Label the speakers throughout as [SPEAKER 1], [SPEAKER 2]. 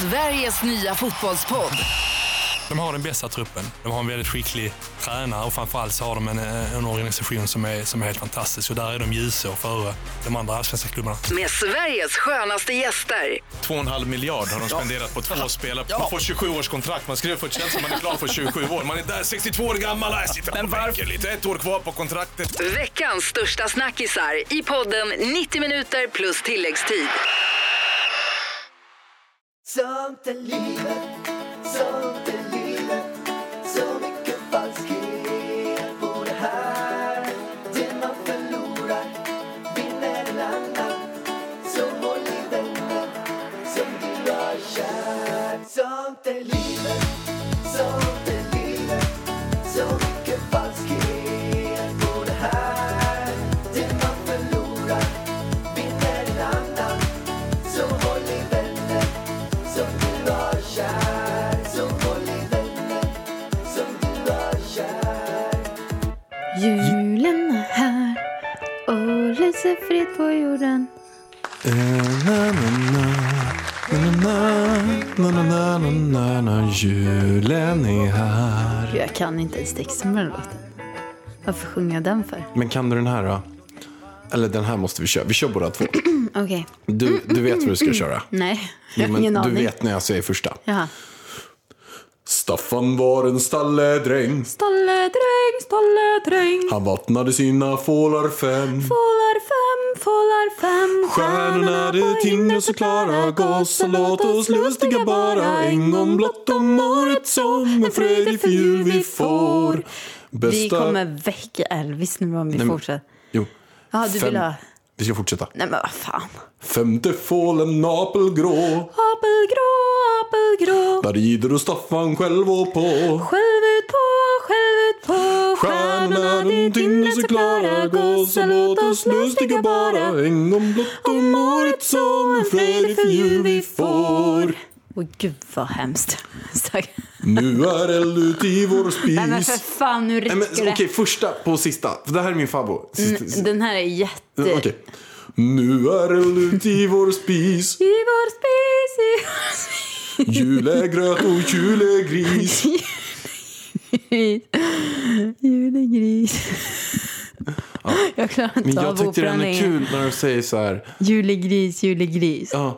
[SPEAKER 1] Sveriges nya fotbollspodd.
[SPEAKER 2] De har den bästa truppen. De har en väldigt skicklig tränare och framförallt så har de en, en organisation som är, som är helt fantastisk. Och där är de ljusår före de andra allsvenska klubbarna.
[SPEAKER 1] Med Sveriges skönaste gäster.
[SPEAKER 3] 2,5 miljard har de spenderat på två spelare. Man får 27 års kontrakt. Man skriver för Chelsea, man är klar för 27 år. Man är där 62 år gammal. Jag sitter på bänken lite. Ett år kvar på kontraktet.
[SPEAKER 1] Veckans största snackisar i podden 90 minuter plus tilläggstid.
[SPEAKER 4] Sånt är livet, sånt är livet Så mycket falskhet på det här Det man förlorar vinner en annan Så håll i vännen som du har kär Sånt är livet, sånt är livet Så mycket falskhet på det här Det man förlorar vinner en annan Så håll i vännen som du har kär Så håll i vännen som du har kär
[SPEAKER 5] Julen är här och lyser fritt på jorden.
[SPEAKER 6] Julen är här.
[SPEAKER 5] Gud, Jag kan inte ens texten på den låten. Varför sjunger jag den för?
[SPEAKER 6] Men kan du den här då? Eller den här måste vi köra. Vi kör båda två.
[SPEAKER 5] Okej.
[SPEAKER 6] Du, du vet vad du ska köra.
[SPEAKER 5] Nej,
[SPEAKER 6] Jo, men
[SPEAKER 5] ingen
[SPEAKER 6] du
[SPEAKER 5] aning.
[SPEAKER 6] vet när jag säger första.
[SPEAKER 5] Jaha.
[SPEAKER 6] Staffan var en stalledräng.
[SPEAKER 5] Stalledräng, stalledräng.
[SPEAKER 6] Han vattnade sina fålar fem.
[SPEAKER 5] Fålar fem, fålar fem.
[SPEAKER 6] Stjärnorna det tindrar så klara. Gossen låt oss lustiga bara. En gång blott om året som en fröjdig för jul vi får.
[SPEAKER 5] Vi kommer väcka Elvis nu om vi
[SPEAKER 6] Nej, men-
[SPEAKER 5] fortsätter.
[SPEAKER 6] Jo.
[SPEAKER 5] Ja, du vill
[SPEAKER 6] Fem-
[SPEAKER 5] ha...
[SPEAKER 6] Vi ska fortsätta.
[SPEAKER 5] Nej men vad fan.
[SPEAKER 6] Femte fålen apelgrå.
[SPEAKER 5] Apelgrå, apelgrå.
[SPEAKER 6] Där rider och Staffan själv och på.
[SPEAKER 5] Själv ut på, själv ut på
[SPEAKER 6] Stjärnorna den tindrar så klara. Gossen låt oss lustiga bara. En gång blott om året som en fröjdig för jul vi får.
[SPEAKER 5] Åh gud vad hemskt. Stack-
[SPEAKER 6] Nu är eld ut i vår
[SPEAKER 5] Nej men för
[SPEAKER 6] spis.
[SPEAKER 5] fan nu
[SPEAKER 6] Nej, men,
[SPEAKER 5] rycker
[SPEAKER 6] Okej,
[SPEAKER 5] det.
[SPEAKER 6] första på sista. För det här är min favorit.
[SPEAKER 5] N- Den här är jätte...
[SPEAKER 6] Okej. Nu är eld ut i vår spis.
[SPEAKER 5] I vår spis, i vår spis.
[SPEAKER 6] Julegröt och julegris.
[SPEAKER 5] Julegris. Jag klarar inte
[SPEAKER 6] Men
[SPEAKER 5] av
[SPEAKER 6] jag tyckte den är
[SPEAKER 5] operan
[SPEAKER 6] kul när de säger så här.
[SPEAKER 5] Julegris, julegris.
[SPEAKER 6] Ja. Mm.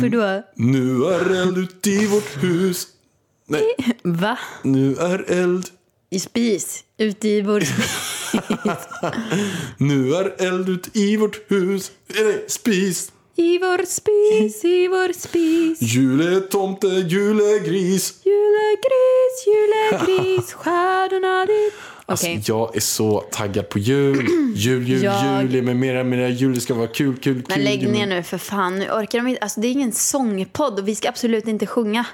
[SPEAKER 5] Varför då?
[SPEAKER 6] Nu är eld ut i vårt hus. Nej,
[SPEAKER 5] Va?
[SPEAKER 6] nu är eld.
[SPEAKER 5] I spis? Ute i vår spis?
[SPEAKER 6] Nu är eld ut i vårt hus. Eh, Nej, spis.
[SPEAKER 5] I vår spis, i vår spis.
[SPEAKER 6] Juletomte, julegris.
[SPEAKER 5] Julegris, julegris, stjärnorna ditt. Okej,
[SPEAKER 6] Alltså, jag är så taggad på jul. Jul, jul,
[SPEAKER 5] Jag-
[SPEAKER 6] jul. Med mera, mera jul. Det ska vara kul, kul, kul.
[SPEAKER 5] men lägg
[SPEAKER 6] jul.
[SPEAKER 5] ner nu för fan. Nu orkar de inte. Alltså, det är ingen sångpodd och vi ska absolut inte sjunga.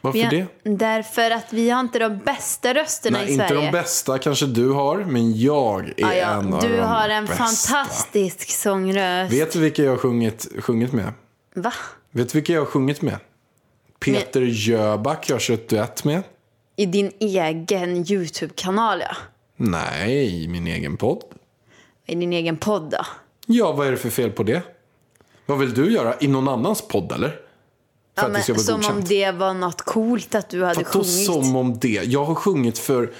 [SPEAKER 6] Varför
[SPEAKER 5] vi har...
[SPEAKER 6] det?
[SPEAKER 5] Därför att vi har inte de bästa rösterna
[SPEAKER 6] Nej,
[SPEAKER 5] i
[SPEAKER 6] inte
[SPEAKER 5] Sverige.
[SPEAKER 6] de bästa kanske du har, men jag är
[SPEAKER 5] Ja, ja.
[SPEAKER 6] en av
[SPEAKER 5] Du
[SPEAKER 6] de
[SPEAKER 5] har en
[SPEAKER 6] bästa.
[SPEAKER 5] fantastisk sångröst.
[SPEAKER 6] Vet du vilka jag har sjungit, sjungit med?
[SPEAKER 5] Va?
[SPEAKER 6] Vet du vilka jag har sjungit med? Peter Jöback jag har kört duett med.
[SPEAKER 5] I din egen YouTube-kanal, ja.
[SPEAKER 6] Nej, i min egen podd.
[SPEAKER 5] I din egen podd, då.
[SPEAKER 6] Ja, vad är det för fel på det? Vad vill du göra? I någon annans podd eller?
[SPEAKER 5] Ja,
[SPEAKER 6] För att det
[SPEAKER 5] men,
[SPEAKER 6] ska vara
[SPEAKER 5] som om
[SPEAKER 6] godkänt.
[SPEAKER 5] det var något coolt att du hade
[SPEAKER 6] Vadå
[SPEAKER 5] sjungit.
[SPEAKER 6] som om det? Jag har sjungit för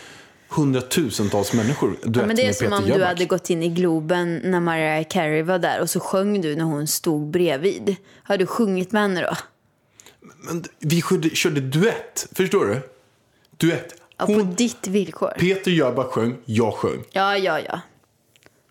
[SPEAKER 6] hundratusentals människor. Du
[SPEAKER 5] Ja, men det är
[SPEAKER 6] med
[SPEAKER 5] som
[SPEAKER 6] Peter
[SPEAKER 5] om
[SPEAKER 6] Jöback.
[SPEAKER 5] du hade gått in i Globen när Mariah Carey var där och så sjöng du när hon stod bredvid. Har du sjungit med henne då?
[SPEAKER 6] Men vi körde, körde duett, förstår du? Duett.
[SPEAKER 5] Ja, på
[SPEAKER 6] Hon,
[SPEAKER 5] ditt villkor?
[SPEAKER 6] Peter Jöback sjöng, jag sjöng.
[SPEAKER 5] Ja, ja, ja.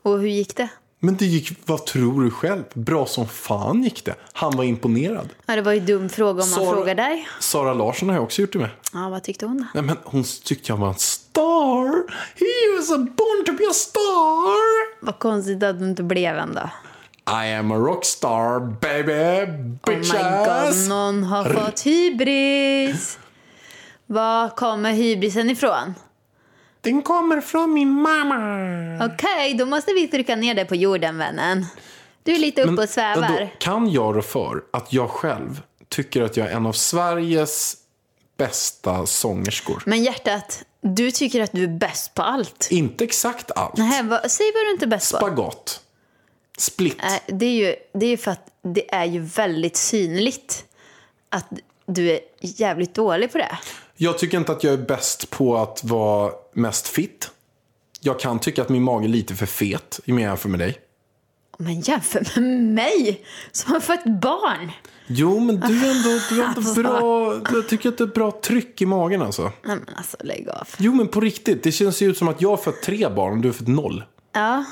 [SPEAKER 5] Och hur gick det?
[SPEAKER 6] Men det gick, vad tror du själv? Bra som fan gick det. Han var imponerad.
[SPEAKER 5] Ja, det var ju en dum fråga om man
[SPEAKER 6] Sara-
[SPEAKER 5] frågar dig.
[SPEAKER 6] Sara Larsson har jag också gjort det med.
[SPEAKER 5] Ja, vad tyckte hon då?
[SPEAKER 6] Nej, men hon tyckte jag var en star. He was a born to be a star.
[SPEAKER 5] Vad konstigt att du inte blev en då.
[SPEAKER 6] I am a rockstar baby
[SPEAKER 5] Oh my god,
[SPEAKER 6] bitches.
[SPEAKER 5] någon har fått hybris. Var kommer hybrisen ifrån?
[SPEAKER 6] Den kommer från min mamma.
[SPEAKER 5] Okej, då måste vi trycka ner dig på jorden, vännen. Du är lite uppe och svävar.
[SPEAKER 6] ändå, kan jag rå för att jag själv tycker att jag är en av Sveriges bästa sångerskor?
[SPEAKER 5] Men hjärtat, du tycker att du är bäst på allt.
[SPEAKER 6] Inte exakt allt.
[SPEAKER 5] Nej, vad, säg vad du inte är bäst på.
[SPEAKER 6] Spagat. Split.
[SPEAKER 5] Nej, det, är ju, det är ju för att det är ju väldigt synligt att du är jävligt dålig på det.
[SPEAKER 6] Jag tycker inte att jag är bäst på att vara mest fit. Jag kan tycka att min mage är lite för fet om jag jämför med dig.
[SPEAKER 5] Men jämför med mig som har fött barn.
[SPEAKER 6] Jo, men du är ändå, du är ändå
[SPEAKER 5] Alltså.
[SPEAKER 6] bra. Jag tycker att det är bra tryck i magen alltså.
[SPEAKER 5] Nej men alltså lägg av.
[SPEAKER 6] Jo, men på riktigt. Det känns ju ut som att jag har fött tre barn och du har fött noll.
[SPEAKER 5] Ja.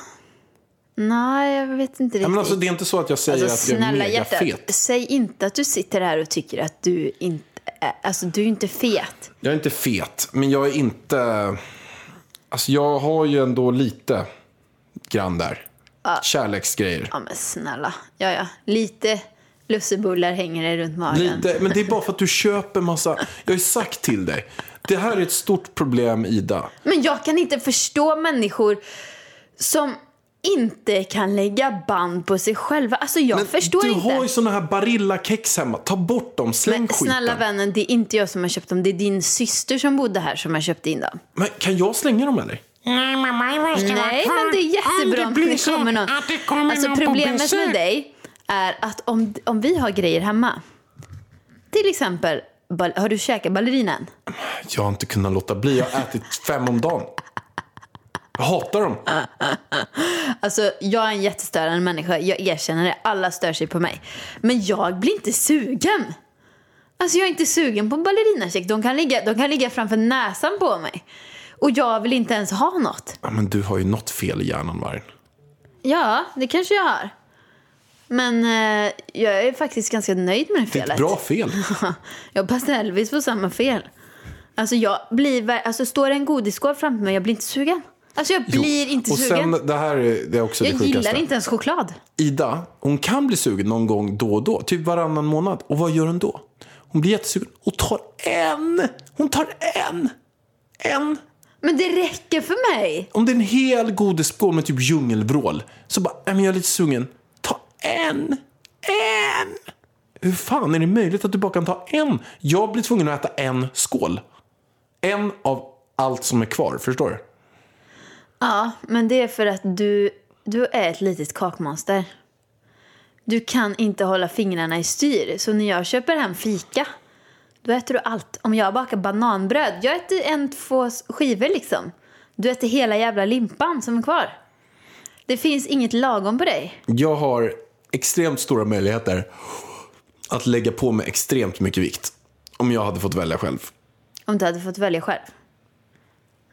[SPEAKER 5] Nej, jag vet inte riktigt.
[SPEAKER 6] Ja, men alltså, det är inte så att jag säger
[SPEAKER 5] Alltså,
[SPEAKER 6] att jag är
[SPEAKER 5] snälla
[SPEAKER 6] mega
[SPEAKER 5] hjärtat,
[SPEAKER 6] fet.
[SPEAKER 5] säg inte att du sitter här och tycker att du inte är, alltså du är inte fet.
[SPEAKER 6] Jag är inte fet, men jag är inte... Alltså jag har ju ändå lite grann där. Kärleksgrejer.
[SPEAKER 5] Ja men snälla, ja ja, lite lussebullar hänger det runt magen.
[SPEAKER 6] Lite, men det är bara för att du köper massa... Jag har ju sagt till dig. Det här är ett stort problem, Ida.
[SPEAKER 5] Men jag kan inte förstå människor som inte kan lägga band på sig själva. Alltså jag
[SPEAKER 6] Men
[SPEAKER 5] förstår
[SPEAKER 6] du
[SPEAKER 5] inte.
[SPEAKER 6] har ju såna här Barilla-kex hemma. Ta bort dem, släng
[SPEAKER 5] Men
[SPEAKER 6] skiten.
[SPEAKER 5] snälla vännen, det är inte jag som har köpt dem. Det är din syster som bodde här som har köpt in dem.
[SPEAKER 6] Men kan jag slänga dem eller?
[SPEAKER 7] Nej, mamma, jag måste vara
[SPEAKER 5] Nej,
[SPEAKER 7] kvar.
[SPEAKER 5] men det är jättebra
[SPEAKER 7] om
[SPEAKER 5] om
[SPEAKER 7] det blir
[SPEAKER 5] det
[SPEAKER 7] så
[SPEAKER 5] kommer någon.
[SPEAKER 7] att det kommer
[SPEAKER 5] Alltså
[SPEAKER 7] någon på
[SPEAKER 5] problemet
[SPEAKER 7] besök.
[SPEAKER 5] med dig är att om, om vi har grejer hemma. Till exempel, bal- har du käkat ballerinan?
[SPEAKER 6] Jag har inte kunnat låta bli. Jag har ätit fem om dagen. Jag hatar dem.
[SPEAKER 5] Alltså jag är en jättestörande människa, jag erkänner det. Alla stör sig på mig. Men jag blir inte sugen. Alltså jag är inte sugen på ballerinakäk. De kan ligga, de kan ligga framför näsan på mig. Och jag vill inte ens ha något.
[SPEAKER 6] Ja, men du har ju något fel i hjärnan, Vargen.
[SPEAKER 5] Ja, det kanske jag har. Men eh, jag är faktiskt ganska nöjd med det
[SPEAKER 6] Det är
[SPEAKER 5] felet.
[SPEAKER 6] ett bra fel.
[SPEAKER 5] Jag passar Elvis på samma fel. Alltså jag blir, ver- alltså står det en godisskål framför mig, jag blir inte sugen. Alltså jag blir inte
[SPEAKER 6] och
[SPEAKER 5] sugen.
[SPEAKER 6] Sen, det här är, det är också
[SPEAKER 5] jag
[SPEAKER 6] det sjukaste.
[SPEAKER 5] gillar inte ens choklad.
[SPEAKER 6] Ida, hon kan bli sugen någon gång då och då. Typ varannan månad. Och vad gör hon då? Hon blir jättesugen och tar en. Hon tar en. En.
[SPEAKER 5] Men det räcker för mig.
[SPEAKER 6] Om det är en hel godisskål med typ djungelvrål. Så bara, "Nej, men jag är lite sugen. Ta en. En. Hur fan är det möjligt att du bara kan ta en? Jag blir tvungen att äta en skål. En av allt som är kvar. Förstår du?
[SPEAKER 5] Ja, men det är för att du, du är ett litet kakmonster. Du kan inte hålla fingrarna i styr. Så när jag köper hem fika, då äter du allt. Om jag bakar bananbröd, jag äter en, två skivor liksom. Du äter hela jävla limpan som är kvar. Det finns inget lagom på dig.
[SPEAKER 6] Jag har extremt stora möjligheter att lägga på mig extremt mycket vikt. Om jag hade fått välja själv.
[SPEAKER 5] Om du hade fått välja själv?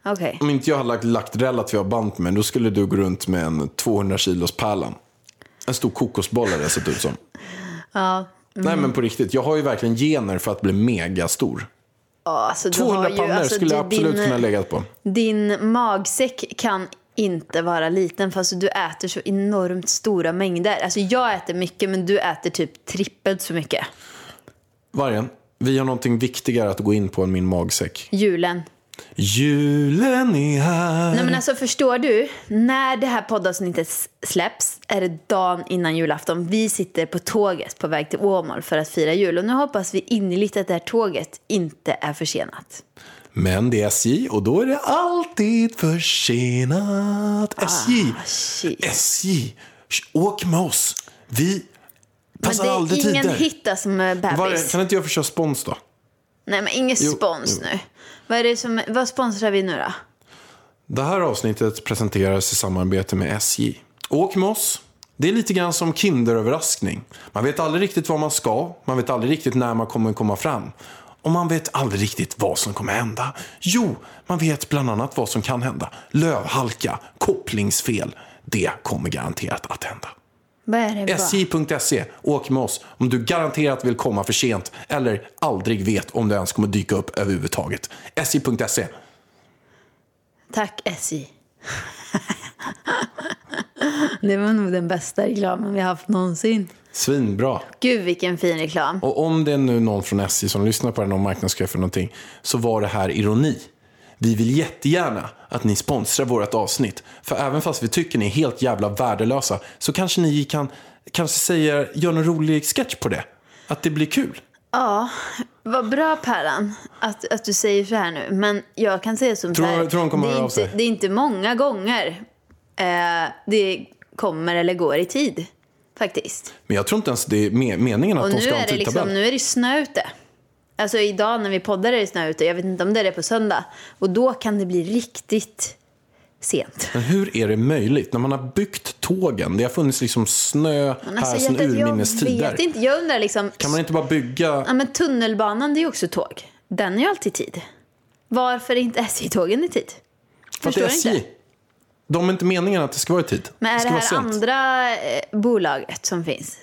[SPEAKER 5] Okej.
[SPEAKER 6] Om inte jag hade lagt, lagt relativa band på mig, då skulle du gå runt med en 200 kilos pärlan. En stor kokosboll hade jag sett ut som. Nej
[SPEAKER 5] Mm.
[SPEAKER 6] men på riktigt, jag har ju verkligen gener för att bli megastor.
[SPEAKER 5] Ja, alltså, du
[SPEAKER 6] 200
[SPEAKER 5] har ju-
[SPEAKER 6] pannor
[SPEAKER 5] alltså,
[SPEAKER 6] skulle jag
[SPEAKER 5] du-
[SPEAKER 6] absolut
[SPEAKER 5] din,
[SPEAKER 6] kunna lägga på.
[SPEAKER 5] Din magsäck kan inte vara liten fast du äter så enormt stora mängder. Alltså jag äter mycket men du äter typ trippelt så mycket.
[SPEAKER 6] Vargen, vi har någonting viktigare att gå in på än min magsäck.
[SPEAKER 5] Julen.
[SPEAKER 6] Julen är här.
[SPEAKER 5] Nej men alltså förstår du? När det här poddavsnittet s- släpps är det dagen innan julafton. Vi sitter på tåget på väg till Åmål för att fira jul och nu hoppas vi innerligt att det här tåget inte är försenat.
[SPEAKER 6] Men det är SJ och då är det alltid försenat. SJ,
[SPEAKER 5] Ah, shit.
[SPEAKER 6] SJ, sh- åk med oss. Vi
[SPEAKER 5] Men
[SPEAKER 6] passar
[SPEAKER 5] det
[SPEAKER 6] aldrig
[SPEAKER 5] är ingen
[SPEAKER 6] tider.
[SPEAKER 5] hitta som är bebis.
[SPEAKER 6] Var, kan inte jag få köra spons då?
[SPEAKER 5] Nej men ingen
[SPEAKER 6] Jo,
[SPEAKER 5] spons
[SPEAKER 6] jo.
[SPEAKER 5] nu. Vad, är det som, vad sponsrar vi nu då?
[SPEAKER 6] Det här avsnittet presenteras i samarbete med SJ. Åk med oss. Det är lite grann som kinderöverraskning. Man vet aldrig riktigt vad man ska, man vet aldrig riktigt när man kommer komma fram. Och man vet aldrig riktigt vad som kommer hända. Jo, man vet bland annat vad som kan hända. Lövhalka, kopplingsfel. Det kommer garanterat att hända.
[SPEAKER 5] Vad är det bara?
[SPEAKER 6] SJ.se, E, åk med oss om du garanterat vill komma för sent eller aldrig vet om du ens kommer dyka upp överhuvudtaget. SJ.se.
[SPEAKER 5] Tack SJ. det var nog den bästa reklamen vi haft någonsin.
[SPEAKER 6] Svinbra.
[SPEAKER 5] Gud vilken fin reklam.
[SPEAKER 6] Och om det är nu någon från SJ som lyssnar på den och marknadschef för någonting, så var det här ironi. Vi vill jättegärna att ni sponsrar vårt avsnitt. För även fast vi tycker ni är helt jävla värdelösa, så kanske ni kan kanske säga, gör en rolig sketch på det. Att det blir kul.
[SPEAKER 5] Vad bra Pärlan att, att du säger så här nu. Men jag kan säga som
[SPEAKER 6] Tror-
[SPEAKER 5] så här.
[SPEAKER 6] tror hon kommer
[SPEAKER 5] det, är
[SPEAKER 6] höra av
[SPEAKER 5] inte,
[SPEAKER 6] sig?
[SPEAKER 5] det är inte många gånger eh, det kommer eller går i tid. faktiskt.
[SPEAKER 6] Men jag tror inte ens det är me- meningen att
[SPEAKER 5] Och
[SPEAKER 6] de
[SPEAKER 5] nu
[SPEAKER 6] ska ha
[SPEAKER 5] är,
[SPEAKER 6] en
[SPEAKER 5] det
[SPEAKER 6] tidtabell.
[SPEAKER 5] liksom, nu är det snö ute. Alltså idag när vi poddar är det snö ute. Jag vet inte om det är det på söndag. Och då kan det bli riktigt sent.
[SPEAKER 6] Men hur är det möjligt? När man har byggt tågen, det har funnits liksom snö
[SPEAKER 5] Men
[SPEAKER 6] här sedan
[SPEAKER 5] hjärtat,
[SPEAKER 6] urminnes
[SPEAKER 5] jag
[SPEAKER 6] tider.
[SPEAKER 5] vet inte. Jag undrar liksom.
[SPEAKER 6] Kan man inte bara bygga...
[SPEAKER 5] Ja, men tunnelbanan det är ju också tåg. Den är ju alltid i tid. Varför är inte SJ-tågen i tid?
[SPEAKER 6] För att det är
[SPEAKER 5] förstår
[SPEAKER 6] SJ.
[SPEAKER 5] inte.
[SPEAKER 6] De är inte meningen att det ska vara i tid.
[SPEAKER 5] Men är det
[SPEAKER 6] ska
[SPEAKER 5] här
[SPEAKER 6] vara sent.
[SPEAKER 5] andra eh, bolaget som finns?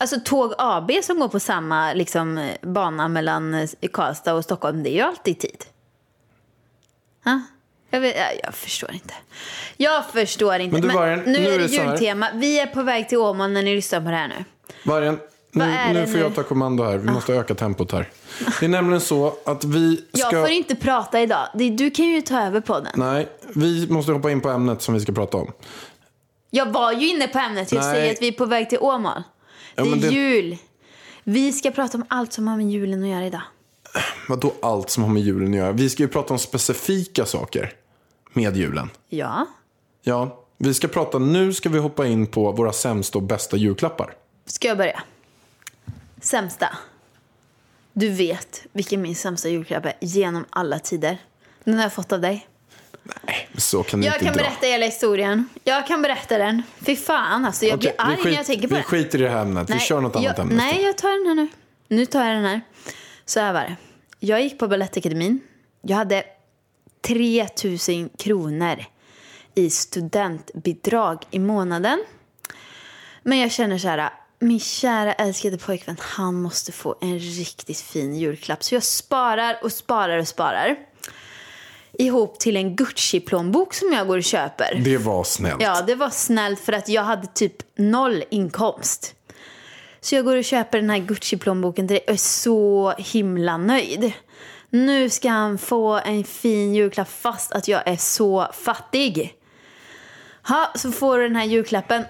[SPEAKER 5] Alltså Tåg AB som går på samma liksom, eh, bana mellan eh, Karlstad och Stockholm, det är ju alltid i tid. Ha? Jag, vet, jag, jag förstår inte. Jag förstår inte.
[SPEAKER 6] Men du, Vargen,
[SPEAKER 5] nu,
[SPEAKER 6] nu
[SPEAKER 5] är det
[SPEAKER 6] är det så här.
[SPEAKER 5] jultema. Vi är på väg till Åmål när ni lyssnar på det här nu.
[SPEAKER 6] Vargen, nu,
[SPEAKER 5] Vad är
[SPEAKER 6] nu
[SPEAKER 5] det
[SPEAKER 6] får
[SPEAKER 5] nu? Ah.
[SPEAKER 6] jag ta kommando här. Vi måste öka tempot här. Det är nämligen så att vi
[SPEAKER 5] Jag
[SPEAKER 6] ska...
[SPEAKER 5] får inte prata idag. Det- Du kan ju ta över podden.
[SPEAKER 6] Nej, vi måste hoppa in på ämnet som vi ska prata om.
[SPEAKER 5] Jag var ju inne på ämnet. Jag
[SPEAKER 6] Nej.
[SPEAKER 5] säger att vi är på väg till Åmål.
[SPEAKER 6] Ja,
[SPEAKER 5] det är
[SPEAKER 6] men det-
[SPEAKER 5] jul. Vi ska prata om allt som har med julen att göra idag.
[SPEAKER 6] Vadå allt som har med julen att göra? Vi ska ju prata om specifika saker med julen.
[SPEAKER 5] Ja.
[SPEAKER 6] Ja, vi ska prata, nu ska vi hoppa in på våra sämsta och bästa julklappar.
[SPEAKER 5] Ska jag börja? Sämsta. Du vet vilken min sämsta julklapp är genom alla tider. Den har jag fått av dig.
[SPEAKER 6] Så kan ni
[SPEAKER 5] Jag
[SPEAKER 6] inte
[SPEAKER 5] kan
[SPEAKER 6] dra.
[SPEAKER 5] berätta hela historien. Jag kan berätta den. Fy fan alltså, jag
[SPEAKER 6] Okej,
[SPEAKER 5] blir arg
[SPEAKER 6] vi
[SPEAKER 5] när
[SPEAKER 6] skit-
[SPEAKER 5] jag tänker på
[SPEAKER 6] Vi
[SPEAKER 5] den.
[SPEAKER 6] skiter i det här ämnet, vi kör något annat
[SPEAKER 5] jag,
[SPEAKER 6] ämne.
[SPEAKER 5] Nej, jag tar den här nu. Nu tar jag den här. Så här var det. Jag gick på Balettakademin. Jag hade 3000 kronor i studentbidrag i månaden. Men jag känner så här, min kära älskade pojkvän, han måste få en riktigt fin julklapp. Så jag sparar och sparar och sparar. Ihop till en Gucci-plånbok som jag går och köper.
[SPEAKER 6] Det var snällt.
[SPEAKER 5] Ja, det var snällt för att jag hade typ noll inkomst. Så jag går och köper den här Gucci-plånboken till dig och är så himla nöjd. Nu ska han få en fin julklapp fast att jag är så fattig. Ha, så får du den här julklappen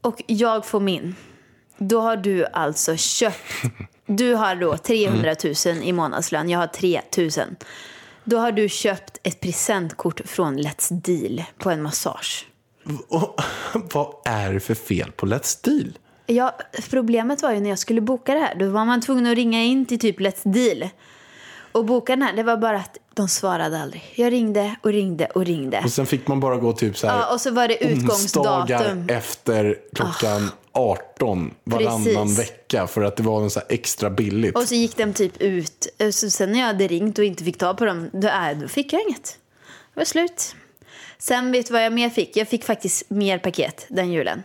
[SPEAKER 5] och jag får min. Då har du alltså köpt... Du har då 300 000 i månadslön, jag har 3 000. Då har du köpt ett presentkort från Let's Deal på en massage.
[SPEAKER 6] Och, vad är det för fel på Let's Deal?
[SPEAKER 5] Ja, problemet var ju när jag skulle boka det här. Då var man tvungen att ringa in till typ Let's Deal och boka den här. Det var bara att de svarade aldrig. Jag ringde och ringde och ringde.
[SPEAKER 6] Och sen fick man bara gå typ så här
[SPEAKER 5] Ja, och så var det utgångsdatum.
[SPEAKER 6] onsdagar efter klockan 18 varannan
[SPEAKER 5] Ah. Precis.
[SPEAKER 6] vecka för att det var en så här extra billigt.
[SPEAKER 5] Och så gick den typ ut. Så sen när jag hade ringt och inte fick ta på dem, då, äh, då fick jag inget. Det var slut. Sen vet du vad jag mer fick? Jag fick faktiskt mer paket den julen.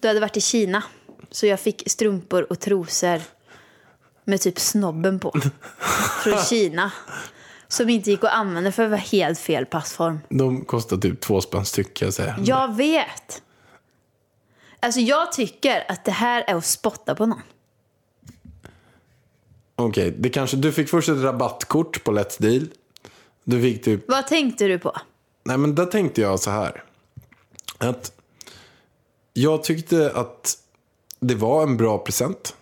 [SPEAKER 5] Då hade jag varit i Kina. Så jag fick strumpor och trosor med typ snobben på. Från Kina. Som inte gick att använda för det var helt fel passform.
[SPEAKER 6] De kostar typ två spänn styck kan jag säga.
[SPEAKER 5] Jag vet. Alltså jag tycker att det här är att spotta på någon.
[SPEAKER 6] Okej, det kanske, du fick först ett rabattkort på Let's Deal. Du fick typ
[SPEAKER 5] Vad tänkte du på?
[SPEAKER 6] Nej, men där tänkte jag så här. Att jag tyckte att det var en bra present.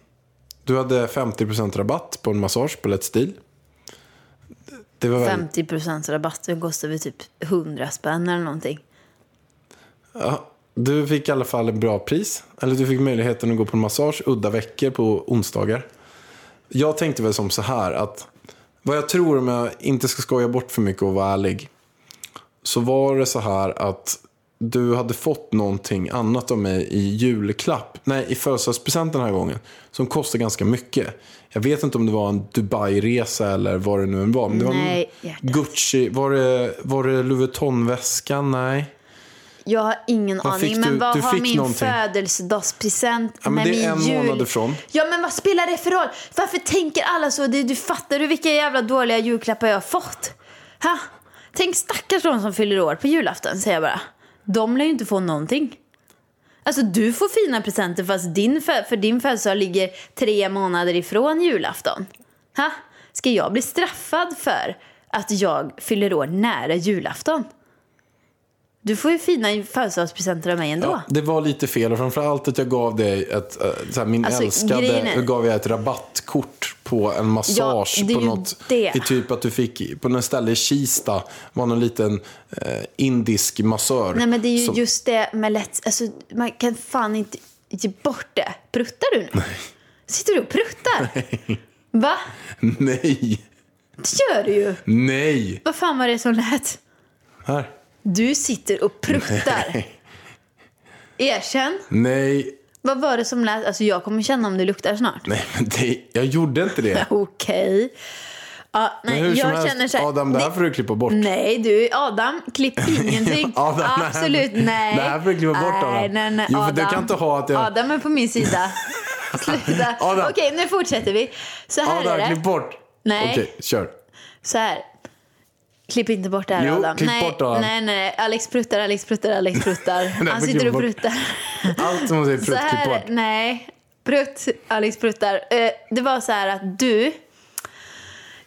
[SPEAKER 6] Du hade 50% rabatt på en massage på Let's Deal. Det var väl...
[SPEAKER 5] 50 rabatt. Den kostar väl typ 100 spänn eller någonting.
[SPEAKER 6] Du fick i alla fall en bra pris. Eller du fick möjligheten att gå på en massage udda veckor på onsdagar. Jag tänkte väl som så här att vad jag tror om jag inte ska skoja bort för mycket och vara ärlig. Så var det så här att du hade fått någonting annat av mig i julklapp. Nej, i födelsedagspresent den här gången. Som kostade ganska mycket. Jag vet inte om det var en Dubai-resa eller vad det nu än var. Men det var en
[SPEAKER 5] Nej, hjärtat.
[SPEAKER 6] Gucci. Var det, var det Louis Vuitton-väskan? Nej.
[SPEAKER 5] Jag har ingen
[SPEAKER 6] Vad
[SPEAKER 5] aning,
[SPEAKER 6] fick
[SPEAKER 5] men
[SPEAKER 6] du?
[SPEAKER 5] vad
[SPEAKER 6] Du
[SPEAKER 5] har
[SPEAKER 6] fick
[SPEAKER 5] min
[SPEAKER 6] någonting.
[SPEAKER 5] födelsedagspresent
[SPEAKER 6] Ja, men
[SPEAKER 5] med
[SPEAKER 6] det är
[SPEAKER 5] min
[SPEAKER 6] en
[SPEAKER 5] jul?
[SPEAKER 6] månad ifrån.
[SPEAKER 5] Ja, men vad spelar det för roll? Varför tänker alla så? Du, du fattar du vilka jävla dåliga julklappar jag har fått? Ha? Tänk stackars de som fyller år på julafton, säger jag bara. De lär ju inte få någonting. Alltså du får fina presenter fast din fö- för din födelsedag ligger tre månader ifrån julafton. Ha? Ska jag bli straffad för att jag fyller år nära julafton? Du får ju fina födelsedagspresenter av mig ändå.
[SPEAKER 6] Ja, det var lite fel och framförallt att jag gav dig ett, eh, så här, min
[SPEAKER 5] Alltså, grejen
[SPEAKER 6] älskade,
[SPEAKER 5] är-
[SPEAKER 6] då gav jag ett rabattkort på en massage
[SPEAKER 5] Ja, det är
[SPEAKER 6] på
[SPEAKER 5] ju
[SPEAKER 6] något,
[SPEAKER 5] det.
[SPEAKER 6] i typ att du fick, på något ställe i Kista, var någon liten eh, indisk massör.
[SPEAKER 5] Nej men det är ju
[SPEAKER 6] som-
[SPEAKER 5] just det med lätt, alltså man kan fan inte Ge bort det. Pruttar du nu? Sitter du och pruttar? Va?
[SPEAKER 6] Nej,
[SPEAKER 5] Det gör du ju.
[SPEAKER 6] nej.
[SPEAKER 5] Vad fan var det som lät?
[SPEAKER 6] Här.
[SPEAKER 5] Du sitter och pruttar.
[SPEAKER 6] Nej.
[SPEAKER 5] Erkänn.
[SPEAKER 6] Nej,
[SPEAKER 5] Vad var det som lät? Alltså jag kommer känna om det luktar snart.
[SPEAKER 6] nej men det, jag gjorde inte det.
[SPEAKER 5] Okej. Ja, nej,
[SPEAKER 6] Men hur som
[SPEAKER 5] jag
[SPEAKER 6] helst,
[SPEAKER 5] känner så här,
[SPEAKER 6] Adam, det här
[SPEAKER 5] det-
[SPEAKER 6] får du klippa bort.
[SPEAKER 5] Nej du, Adam, klipp ingenting.
[SPEAKER 6] Adam, nej.
[SPEAKER 5] Absolut nej.
[SPEAKER 6] Det här får du klippa bort, Adam.
[SPEAKER 5] Nej, nej, nej.
[SPEAKER 6] Jo, för
[SPEAKER 5] Adam.
[SPEAKER 6] du kan inte ha att jag-
[SPEAKER 5] Adam är på min sida. Sluta.
[SPEAKER 6] Adam.
[SPEAKER 5] Okej, nu fortsätter vi. Så här
[SPEAKER 6] Adam,
[SPEAKER 5] är det.
[SPEAKER 6] klipp bort.
[SPEAKER 5] Nej.
[SPEAKER 6] Okej, kör.
[SPEAKER 5] Så här. Klipp inte bort det här
[SPEAKER 6] Jo,
[SPEAKER 5] Adam.
[SPEAKER 6] klipp
[SPEAKER 5] nej,
[SPEAKER 6] bort, Adam.
[SPEAKER 5] nej, nej. Alex pruttar, Alex pruttar, Alex pruttar.
[SPEAKER 6] men
[SPEAKER 5] Han sitter
[SPEAKER 6] klipp
[SPEAKER 5] och
[SPEAKER 6] bort.
[SPEAKER 5] pruttar.
[SPEAKER 6] Allt som hon säger,
[SPEAKER 5] Så
[SPEAKER 6] prutt, klipp
[SPEAKER 5] här,
[SPEAKER 6] bort.
[SPEAKER 5] nej. Prutt, Alex pruttar. Eh, det var så här att du,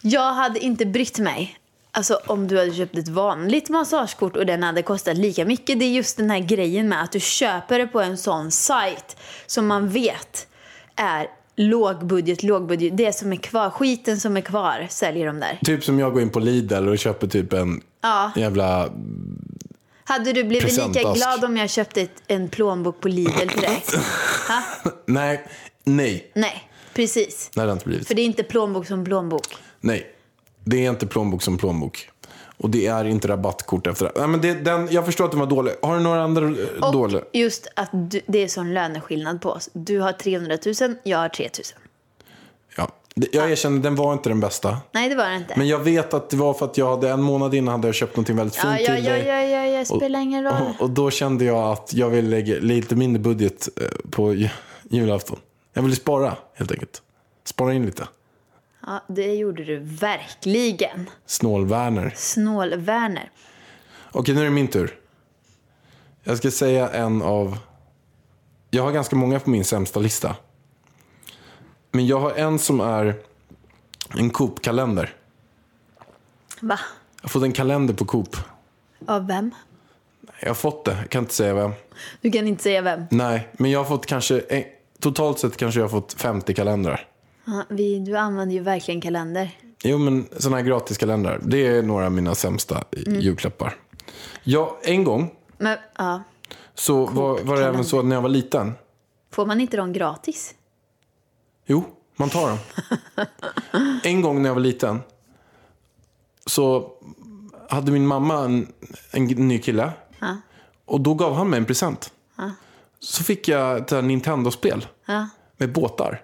[SPEAKER 5] jag hade inte brytt mig. Alltså om du hade köpt ett vanligt massagekort och den hade kostat lika mycket. Det är just den här grejen med att du köper det på en sån sajt som man vet är lågbudget, lågbudget. Det som är kvar, skiten som är kvar säljer de där.
[SPEAKER 6] Typ som jag går in på Lidl och köper typ en
[SPEAKER 5] Ja.
[SPEAKER 6] jävla...
[SPEAKER 5] Hade du blivit lika
[SPEAKER 6] Presentask.
[SPEAKER 5] glad om jag köpte ett, en plånbok på Lidl till dig? Ha?
[SPEAKER 6] Nej, nej.
[SPEAKER 5] Nej, precis.
[SPEAKER 6] Det har det inte blivit.
[SPEAKER 5] För det är inte plånbok som plånbok.
[SPEAKER 6] Nej, det är inte plånbok som plånbok. Och det är inte rabattkort efter det. Nej, men det den, jag förstår att den var dålig. Har du några andra eh,
[SPEAKER 5] Och
[SPEAKER 6] dåliga?
[SPEAKER 5] just att du, det är sån löneskillnad på oss. Du har 300 000, jag har 3 000.
[SPEAKER 6] Ja. Det- Jag erkänner, den var inte den bästa.
[SPEAKER 5] Nej, det var det inte.
[SPEAKER 6] Men jag vet att det var för att jag hade en månad innan hade jag köpt någonting väldigt
[SPEAKER 5] ja,
[SPEAKER 6] fint
[SPEAKER 5] ja,
[SPEAKER 6] till
[SPEAKER 5] ja,
[SPEAKER 6] dig.
[SPEAKER 5] ja, ja, ja, spelar ingen roll.
[SPEAKER 6] Och, och då kände jag att jag ville lägga lite mindre budget eh, på ju- julafton. Jag ville spara helt enkelt. Spara in lite.
[SPEAKER 5] Ja, det gjorde du verkligen.
[SPEAKER 6] Snål-Werner.
[SPEAKER 5] Snål-Werner.
[SPEAKER 6] Okej, nu är det min tur. Jag ska säga en av... Jag har ganska många på min sämsta lista. Men jag har en som är en Coop-kalender.
[SPEAKER 5] Va?
[SPEAKER 6] Jag har fått en kalender på Coop.
[SPEAKER 5] Av vem?
[SPEAKER 6] Jag har fått det, jag kan inte säga vem.
[SPEAKER 5] Du kan inte säga vem.
[SPEAKER 6] Nej, men jag har fått kanske... eh, Totalt sett kanske jag har fått 50 kalendrar.
[SPEAKER 5] Ja, vi, du använder ju verkligen kalender.
[SPEAKER 6] Jo, men sådana här gratiskalendrar. Det är några av mina sämsta i- julklappar. Ja, en gång
[SPEAKER 5] Men ja,
[SPEAKER 6] så var, var det även så att när jag var liten.
[SPEAKER 5] får man inte dem gratis?
[SPEAKER 6] Jo, man tar dem. en gång när jag var liten så hade min mamma en, en ny kille. Och då gav han mig en present. Så fick jag ett här Nintendo-spel
[SPEAKER 5] Ja.
[SPEAKER 6] med båtar.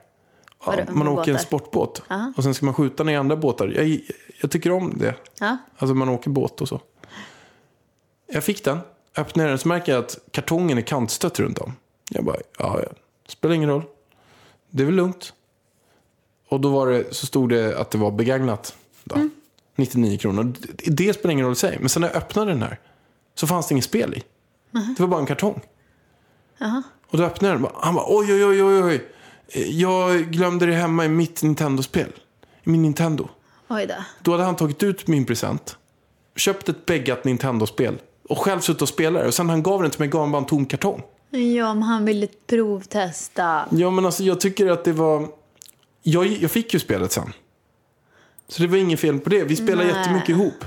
[SPEAKER 6] Ja,
[SPEAKER 5] Vadå,
[SPEAKER 6] man
[SPEAKER 5] med
[SPEAKER 6] åker en
[SPEAKER 5] båtar?
[SPEAKER 6] sportbåt och sen ska man skjuta ner andra båtar. Jag, jag tycker om det.
[SPEAKER 5] Ja.
[SPEAKER 6] Alltså man åker båt och så. Jag fick den, öppnade den så märker jag att kartongen är kantstött runt om. Jag bara, ja, ja. spelar ingen roll. Det är väl lugnt. Och då var det, så stod det att det var begagnat. Då. 99 kronor. Det, det spelar ingen roll i sig. Men sen när jag öppnade den här så fanns det inget spel i. Det var bara en kartong. Och då öppnade jag den. Han bara, oj, oj, oj, oj, oj. Jag glömde det hemma i mitt Nintendo-spel. I min Nintendo.
[SPEAKER 5] Oj då.
[SPEAKER 6] Då hade han tagit ut min present, köpt ett beggat Nintendo-spel och själv suttit och spelat det. Och sen när han gav den till mig gav han bara en tom kartong.
[SPEAKER 5] Ja, om han ville provtesta.
[SPEAKER 6] Ja, men alltså jag tycker att det var... Jag, jag fick ju spelet sen. Så det var inget fel på det. Vi spelade
[SPEAKER 5] Nej.
[SPEAKER 6] jättemycket ihop.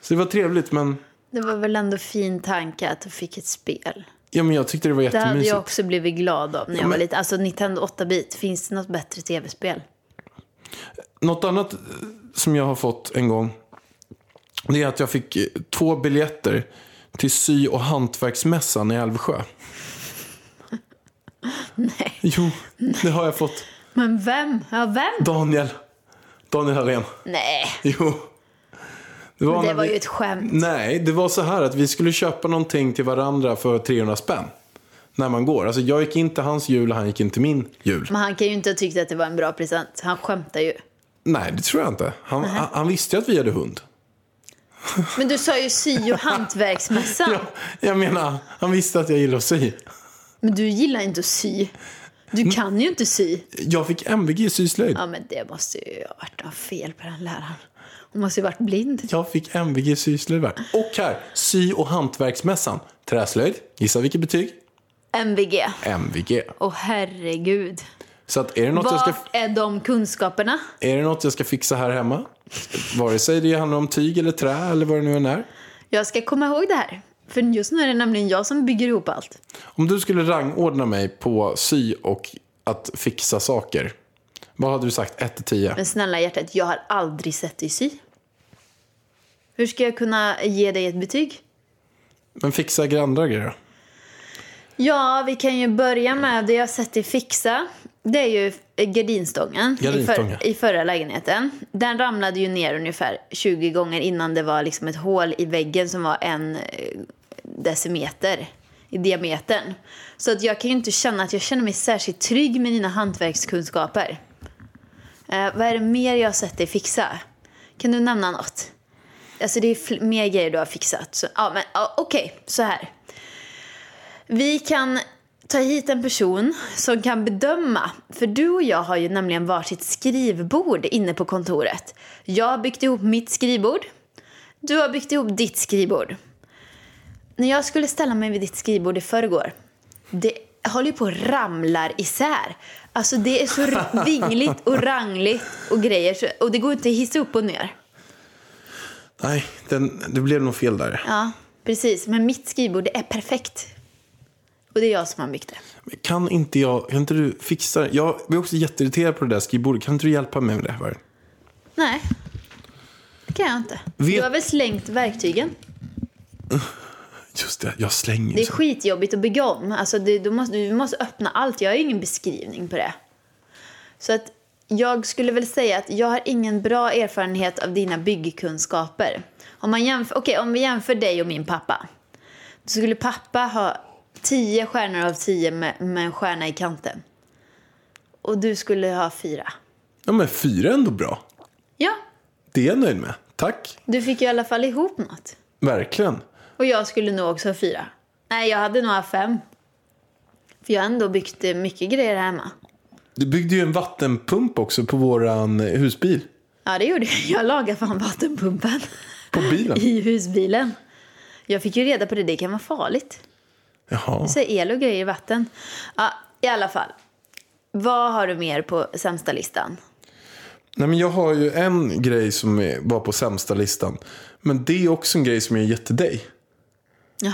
[SPEAKER 6] Så det var trevligt, men,
[SPEAKER 5] Det var väl ändå fin tanke att du fick ett spel.
[SPEAKER 6] ja, men jag tyckte det var
[SPEAKER 5] Det hade
[SPEAKER 6] jättemysigt.
[SPEAKER 5] jag också blivit glad av när jag
[SPEAKER 6] men-
[SPEAKER 5] var liten. Alltså Nintendo 8-bit, finns det något bättre tv-spel?
[SPEAKER 6] Något annat eh, som jag har fått en gång. Det är att jag fick eh, två biljetter till sy och hantverksmässan i Älvsjö. Nej. Jo, det har jag fått.
[SPEAKER 5] Men vem? Ja, vem?
[SPEAKER 6] Daniel. Daniel Hallén.
[SPEAKER 5] Nej,
[SPEAKER 6] Jo.
[SPEAKER 5] men det
[SPEAKER 6] när
[SPEAKER 5] var
[SPEAKER 6] vi-
[SPEAKER 5] ju ett skämt.
[SPEAKER 6] Nej, det var så här att vi skulle köpa någonting till varandra för 300 spänn. När man går. Alltså jag gick inte till hans jul och han gick inte till min jul.
[SPEAKER 5] Men han kan ju inte ha tyckt att det var en bra present. Han skämtar ju.
[SPEAKER 6] Nej, det tror jag inte. Han, han, han visste ju att vi hade hund.
[SPEAKER 5] Men du sa ju sy och hantverksmässan.
[SPEAKER 6] Ja, jag menar, han visste att jag gillar att sy.
[SPEAKER 5] Men du gillar inte att sy.
[SPEAKER 6] Mm.
[SPEAKER 5] Du kan ju inte sy.
[SPEAKER 6] Jag fick MVG i syslöjd.
[SPEAKER 5] Ja, men det måste ju ha varit något fel på den läraren. Hon måste ju varit blind.
[SPEAKER 6] Jag fick MVG i syslöjd. va? Och här, sy och hantverksmässan. Träslöjd. Gissa vilket betyg?
[SPEAKER 5] MVG.
[SPEAKER 6] MVG.
[SPEAKER 5] Åh herregud.
[SPEAKER 6] Så att är det något jag ska...
[SPEAKER 5] Vart är de kunskaperna?
[SPEAKER 6] Är det något jag ska fixa här hemma? Vare sig det handlar om tyg eller trä eller vad det nu än är.
[SPEAKER 5] Jag ska komma ihåg det här. För just nu är det nämligen jag som bygger ihop allt.
[SPEAKER 6] Om du skulle rangordna mig på sy och att fixa saker. Vad hade du sagt? 1 till 10?
[SPEAKER 5] Men snälla hjärtat, jag har aldrig sett dig sy. Hur ska jag kunna ge dig ett betyg?
[SPEAKER 6] Men fixa grejer, andra grejer då?
[SPEAKER 5] Ja, vi kan ju börja med det jag sett dig fixa. Det är ju gardinstången i,
[SPEAKER 6] Gardinstången.
[SPEAKER 5] för, i förra lägenheten. Den ramlade ju ner ungefär 20 gånger innan det var liksom ett hål i väggen som var en eh, decimeter i diametern. Så att jag kan ju inte känna att jag känner mig särskilt trygg med dina hantverkskunskaper. Eh, vad är det mer jag har sett dig fixa? Kan du nämna något? Alltså det är fl- mer grejer du har fixat. Så, ja, men ja, okej, så här. Vi kan ta hit en person som kan bedöma. För du och jag har ju nämligen varsitt skrivbord inne på kontoret. Jag har byggt ihop mitt skrivbord. Du har byggt ihop ditt skrivbord. När jag skulle ställa mig vid ditt skrivbord i förrgår, det håller ju på och ramlar isär. Alltså det är så r- vingligt och rangligt och grejer. så- Och det går inte att hissa upp och ner.
[SPEAKER 6] Nej, den, det blev nog fel där.
[SPEAKER 5] Ja, precis. Men mitt skrivbord det är perfekt. Och det är jag som har byggt det.
[SPEAKER 6] Men Kan inte jag, kan inte du fixa det? Jag blir också jätteirriterad på det där skrivbordet. Kan inte du hjälpa mig med det? Här?
[SPEAKER 5] Nej, det kan jag inte.
[SPEAKER 6] Vet-
[SPEAKER 5] Du har väl slängt verktygen?
[SPEAKER 6] Just det, jag slänger
[SPEAKER 5] Det är
[SPEAKER 6] så.
[SPEAKER 5] skitjobbigt att bygga om. Alltså det, du, måste, du måste öppna allt. Jag har ju ingen beskrivning på det. Så att jag skulle väl säga att jag har ingen bra erfarenhet av dina byggkunskaper. Om, man jämför, okej, om vi jämför dig och min pappa. Då skulle pappa ha 10 stjärnor av 10 med, med en stjärna i kanten. Och du skulle ha fyra.
[SPEAKER 6] Ja, men fyra är ändå bra.
[SPEAKER 5] Ja,
[SPEAKER 6] Det är jag nöjd med. Tack.
[SPEAKER 5] du fick ju i alla fall ihop något.
[SPEAKER 6] Verkligen.
[SPEAKER 5] Och jag skulle nog också ha fyra. Nej, jag hade nog haft fem. För jag har ändå byggt eh, mycket grejer hemma.
[SPEAKER 6] Du byggde ju en vattenpump också på våran eh, husbil.
[SPEAKER 5] Ja, det gjorde jag. Jag lagade fan vattenpumpen
[SPEAKER 6] På bilen.
[SPEAKER 5] i husbilen. Jag fick ju reda på det. Det kan vara farligt.
[SPEAKER 6] Jaha.
[SPEAKER 5] Så el och grejer i vatten. Ja, i alla fall. Vad har du mer på sämsta listan?
[SPEAKER 6] Nej, men jag har ju en grej som är- var på sämsta listan. Men det är också en grej som jag gett till dig.
[SPEAKER 5] Ja,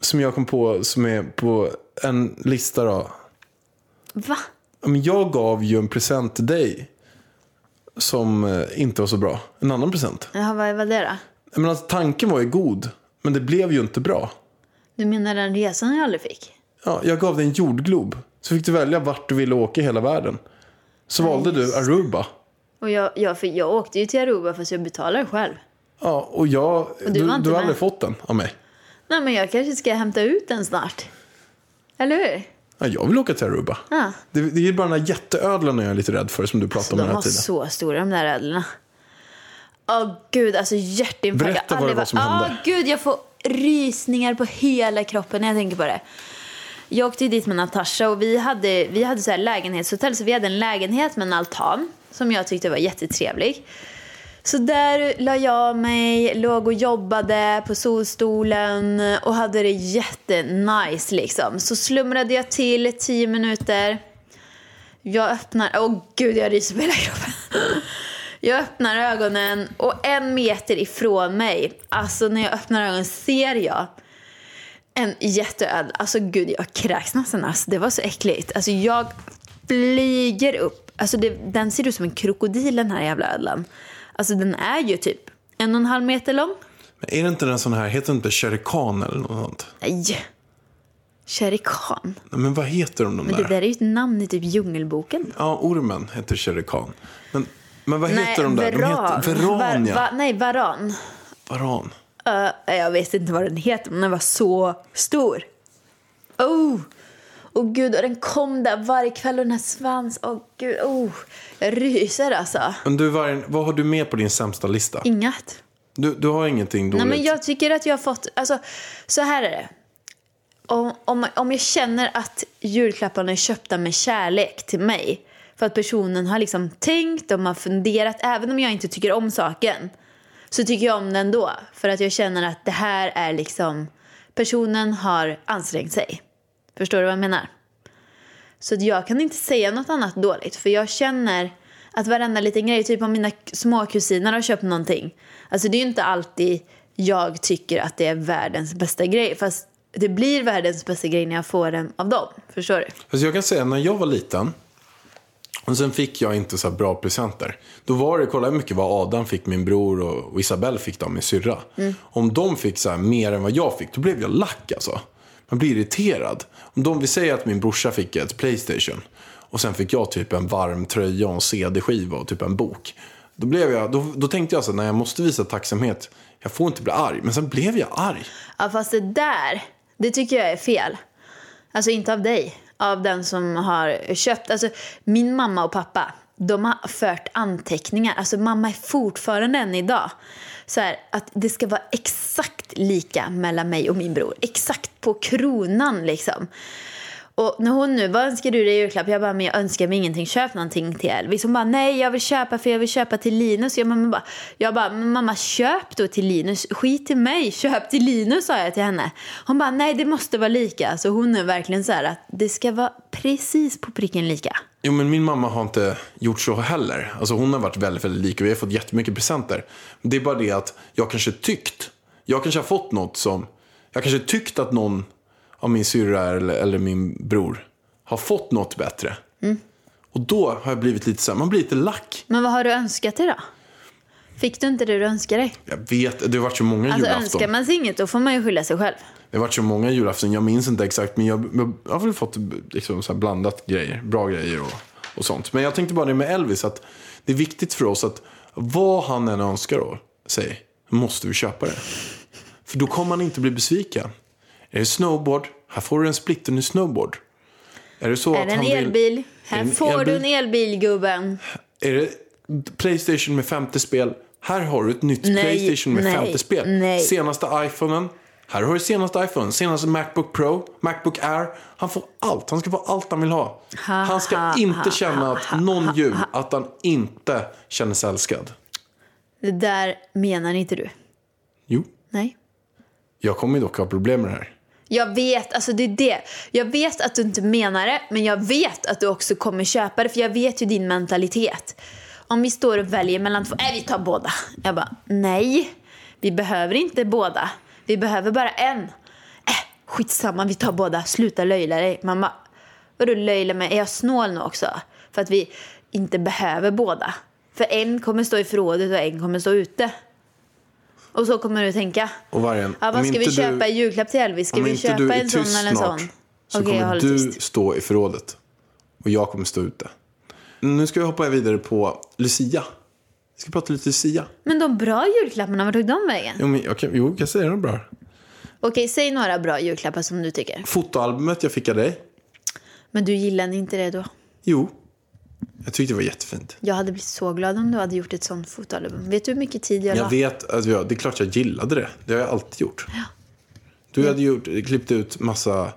[SPEAKER 6] Som jag kom på som är på en lista då.
[SPEAKER 5] va?
[SPEAKER 6] Ja, Men jag gav ju en present till dig. Som eh, inte var så bra. En annan present.
[SPEAKER 5] Jaha, vad var det då?
[SPEAKER 6] Jag menar, alltså, tanken var ju god. Men det blev ju inte bra.
[SPEAKER 5] Du menar den resan jag aldrig fick?
[SPEAKER 6] Ja, jag gav dig en jordglob. Så fick du välja vart du ville åka i hela världen. Så valde du Aruba.
[SPEAKER 5] Och jag, jag, för jag åkte ju till Aruba fast jag betalade själv.
[SPEAKER 6] Ja, och jag...
[SPEAKER 5] du
[SPEAKER 6] du
[SPEAKER 5] var
[SPEAKER 6] du,
[SPEAKER 5] inte
[SPEAKER 6] har
[SPEAKER 5] med.
[SPEAKER 6] aldrig fått den av mig.
[SPEAKER 5] Nej, men jag kanske ska hämta ut den snart. Eller hur?
[SPEAKER 6] Ja, jag vill åka till Aruba.
[SPEAKER 5] Ja. Alltså,
[SPEAKER 6] Det, det är ju bara den här jätteödlan jag är lite rädd för som du pratar om
[SPEAKER 5] de
[SPEAKER 6] hela
[SPEAKER 5] var
[SPEAKER 6] tiden.
[SPEAKER 5] så stora de där ödlorna. Åh gud, alltså hjärtinfarkt.
[SPEAKER 6] Berätta
[SPEAKER 5] Jag har
[SPEAKER 6] vad
[SPEAKER 5] aldrig
[SPEAKER 6] det var som
[SPEAKER 5] varit- Åh
[SPEAKER 6] hände.
[SPEAKER 5] gud, jag får rysningar på hela kroppen när jag tänker på det. Jag åkte ju dit med Natasha och vi hade, vi hade så här lägenhetshotell så vi hade en lägenhet med en altan som jag tyckte var jättetrevlig. Så där la jag mig, låg och jobbade på solstolen och hade det jättenice liksom. Så slumrade jag till 10 minuter. Jag öppnar... Åh gud, jag ryser på hela kroppen. Jag öppnar ögonen och en meter ifrån mig, alltså när jag öppnar ögonen ser jag en jätteödla. Alltså gud, jag kräks nästan. Alltså, det var så äckligt. Alltså jag flyger upp. Alltså det, den ser ut som en krokodil den här jävla ödlan. Alltså den är ju typ en och en halv meter lång.
[SPEAKER 6] Men är det inte den sån här, heter det inte sherikan eller något sånt?
[SPEAKER 5] Nej! Sherikan.
[SPEAKER 6] Nej, Men vad heter de, de
[SPEAKER 5] Men
[SPEAKER 6] där?
[SPEAKER 5] det där är ju ett namn i typ Djungelboken.
[SPEAKER 6] Ja, ormen heter sherikan. Men, men vad
[SPEAKER 5] Nej,
[SPEAKER 6] heter de där? De
[SPEAKER 5] varan.
[SPEAKER 6] heter Veran,
[SPEAKER 5] Va, va,
[SPEAKER 6] ja.
[SPEAKER 5] nej, varan.
[SPEAKER 6] Varan.
[SPEAKER 5] Ö, Eh, jag vet inte vad den heter, men den var så stor. Oh! Och gud, och den kom där varje kväll och den här svans. Åh gud, oh. Jag ryser alltså.
[SPEAKER 6] Men du, vargen, vad har du med på din sämsta lista?
[SPEAKER 5] Inget.
[SPEAKER 6] Du, du har ingenting dåligt?
[SPEAKER 5] Nej, men jag tycker att jag har fått, alltså så här är det. Om, om, om jag känner att julklapparna är köpta med kärlek till mig. För att personen har liksom tänkt, de har funderat, även om jag inte tycker om saken. Så tycker jag om den då. För att jag känner att det här är liksom, personen har ansträngt sig. Förstår du vad jag menar? Så att jag kan inte säga något annat dåligt. För jag känner att varenda liten grej, typ om mina k- småkusiner har köpt någonting. Alltså det är ju inte alltid jag tycker att det är världens bästa grej. Fast det blir världens bästa grej när jag får den av dem. Förstår du?
[SPEAKER 6] Alltså jag kan säga när jag var liten och sen fick jag inte så här bra presenter. Då var det, kolla hur mycket vad Adam fick, min bror och, och Isabelle fick då, min syrra.
[SPEAKER 5] Mm.
[SPEAKER 6] Om de fick så här mer än vad jag fick, då blev jag lack alltså. Man blir irriterad. Om de, vi säger att min brorsa fick ett Playstation och sen fick jag typ en varm tröja och en CD-skiva och typ en bok. Då, blev jag, då, då tänkte jag så här, nej jag måste visa tacksamhet. Jag får inte bli arg. Men sen blev jag arg.
[SPEAKER 5] Ja, fast det där, det tycker jag är fel. Alltså inte av dig, av den som har köpt. Alltså min mamma och pappa, de har fört anteckningar. Alltså mamma är fortfarande än idag. Så här, att det ska vara exakt lika mellan mig och min bror. Exakt på kronan liksom. Och när hon nu, vad önskar du dig i julklapp? Jag bara, men jag önskar mig ingenting, köp någonting till Elvis. Hon bara, nej jag vill köpa för jag vill köpa till Linus. Jag, mamma bara, jag bara, men mamma köp då till Linus, skit i mig, köp till Linus sa jag till henne. Hon bara, nej det måste vara lika. Så hon är verkligen så här att det ska vara precis på pricken lika.
[SPEAKER 6] Jo, men min mamma har inte gjort så heller. Alltså, hon har varit väldigt, väldigt lik och vi har fått jättemycket presenter. Det är bara det att jag kanske tyckt, jag kanske har fått något som, jag kanske tyckt att någon av min syrra eller, eller min bror har fått något bättre.
[SPEAKER 5] Mm.
[SPEAKER 6] Och då har jag blivit lite så här, man blir lite lack.
[SPEAKER 5] Men vad har du önskat dig då? Fick du inte det du önskade dig?
[SPEAKER 6] Jag vet, det har varit så många
[SPEAKER 5] Alltså
[SPEAKER 6] julafton.
[SPEAKER 5] önskar man sig inget då får man ju skylla sig själv.
[SPEAKER 6] Det har varit så många julafton, jag minns inte exakt. Men jag, jag har väl fått liksom, så här blandat grejer, bra grejer och, och sånt. Men jag tänkte bara det med Elvis, att det är viktigt för oss att vad han än önskar då, sig, måste vi köpa det. För då kommer han inte bli besviken. Är det snowboard, här får du en splitterny snowboard. Är det så
[SPEAKER 5] Är
[SPEAKER 6] att
[SPEAKER 5] det en
[SPEAKER 6] han vill-
[SPEAKER 5] elbil?
[SPEAKER 6] Är det
[SPEAKER 5] Här
[SPEAKER 6] en
[SPEAKER 5] får du en
[SPEAKER 6] elbil?
[SPEAKER 5] elbil gubben.
[SPEAKER 6] Är det Playstation med 50 spel? Här har du ett nytt
[SPEAKER 5] Nej,
[SPEAKER 6] Playstation med
[SPEAKER 5] nej,
[SPEAKER 6] 50 spel.
[SPEAKER 5] nej.
[SPEAKER 6] Senaste iPhonen. Här har du senaste iPhone, senaste Macbook Pro, Macbook Air. Han får allt. Han ska få allt han vill ha.
[SPEAKER 5] Ha,
[SPEAKER 6] han ska
[SPEAKER 5] ha,
[SPEAKER 6] inte
[SPEAKER 5] ha,
[SPEAKER 6] känna
[SPEAKER 5] ha,
[SPEAKER 6] att
[SPEAKER 5] ha,
[SPEAKER 6] någon
[SPEAKER 5] ha,
[SPEAKER 6] jul
[SPEAKER 5] ha.
[SPEAKER 6] att han inte känner sig älskad.
[SPEAKER 5] Det där menar inte du.
[SPEAKER 6] Jo,
[SPEAKER 5] Nej.
[SPEAKER 6] jag kommer ju dock ha problem med det här.
[SPEAKER 5] Jag vet, alltså det är det. Jag vet att du inte menar det, men jag vet att du också kommer köpa det för jag vet ju din mentalitet. Om vi står och väljer mellan två, nej vi tar båda. Jag bara, nej, vi behöver inte båda. Vi behöver bara en. Äh, skitsamma, vi tar båda. Sluta löjla dig. Mamma, vadå löjla mig? Är jag snål nu också? För att vi inte behöver båda. För en kommer stå i förrådet och en kommer stå ute. Och så kommer du tänka.
[SPEAKER 6] Och vargen,
[SPEAKER 5] Ja,
[SPEAKER 6] om
[SPEAKER 5] vad ska vi
[SPEAKER 6] inte du-
[SPEAKER 5] köpa i julklapp till Elvis? Ska
[SPEAKER 6] Om
[SPEAKER 5] vi
[SPEAKER 6] inte du
[SPEAKER 5] köpa
[SPEAKER 6] är
[SPEAKER 5] en sån
[SPEAKER 6] tyst
[SPEAKER 5] eller en sån?
[SPEAKER 6] snart så
[SPEAKER 5] Okej, jag
[SPEAKER 6] kommer
[SPEAKER 5] håller
[SPEAKER 6] du
[SPEAKER 5] tyst.
[SPEAKER 6] stå i förrådet och jag kommer stå ute. Nu ska vi hoppa vidare på Lucia. Vi ska prata lite Lucia.
[SPEAKER 5] Men de bra julklapparna, vart tog de vägen?
[SPEAKER 6] Jo, men jag kan, jo, jag säger det bra.
[SPEAKER 5] Okej, säg några bra julklappar som du tycker.
[SPEAKER 6] Fotoalbumet jag fick av dig.
[SPEAKER 5] Men du gillade inte det då?
[SPEAKER 6] Jo. Jag tyckte det var jättefint.
[SPEAKER 5] Jag hade blivit så glad om du hade gjort ett sånt fotoalbum. Vet du hur mycket tid jag,
[SPEAKER 6] Jag
[SPEAKER 5] la?
[SPEAKER 6] vet att jag, det är klart jag gillade det. Det har jag alltid gjort. Du hade gjort, klippt ut massa...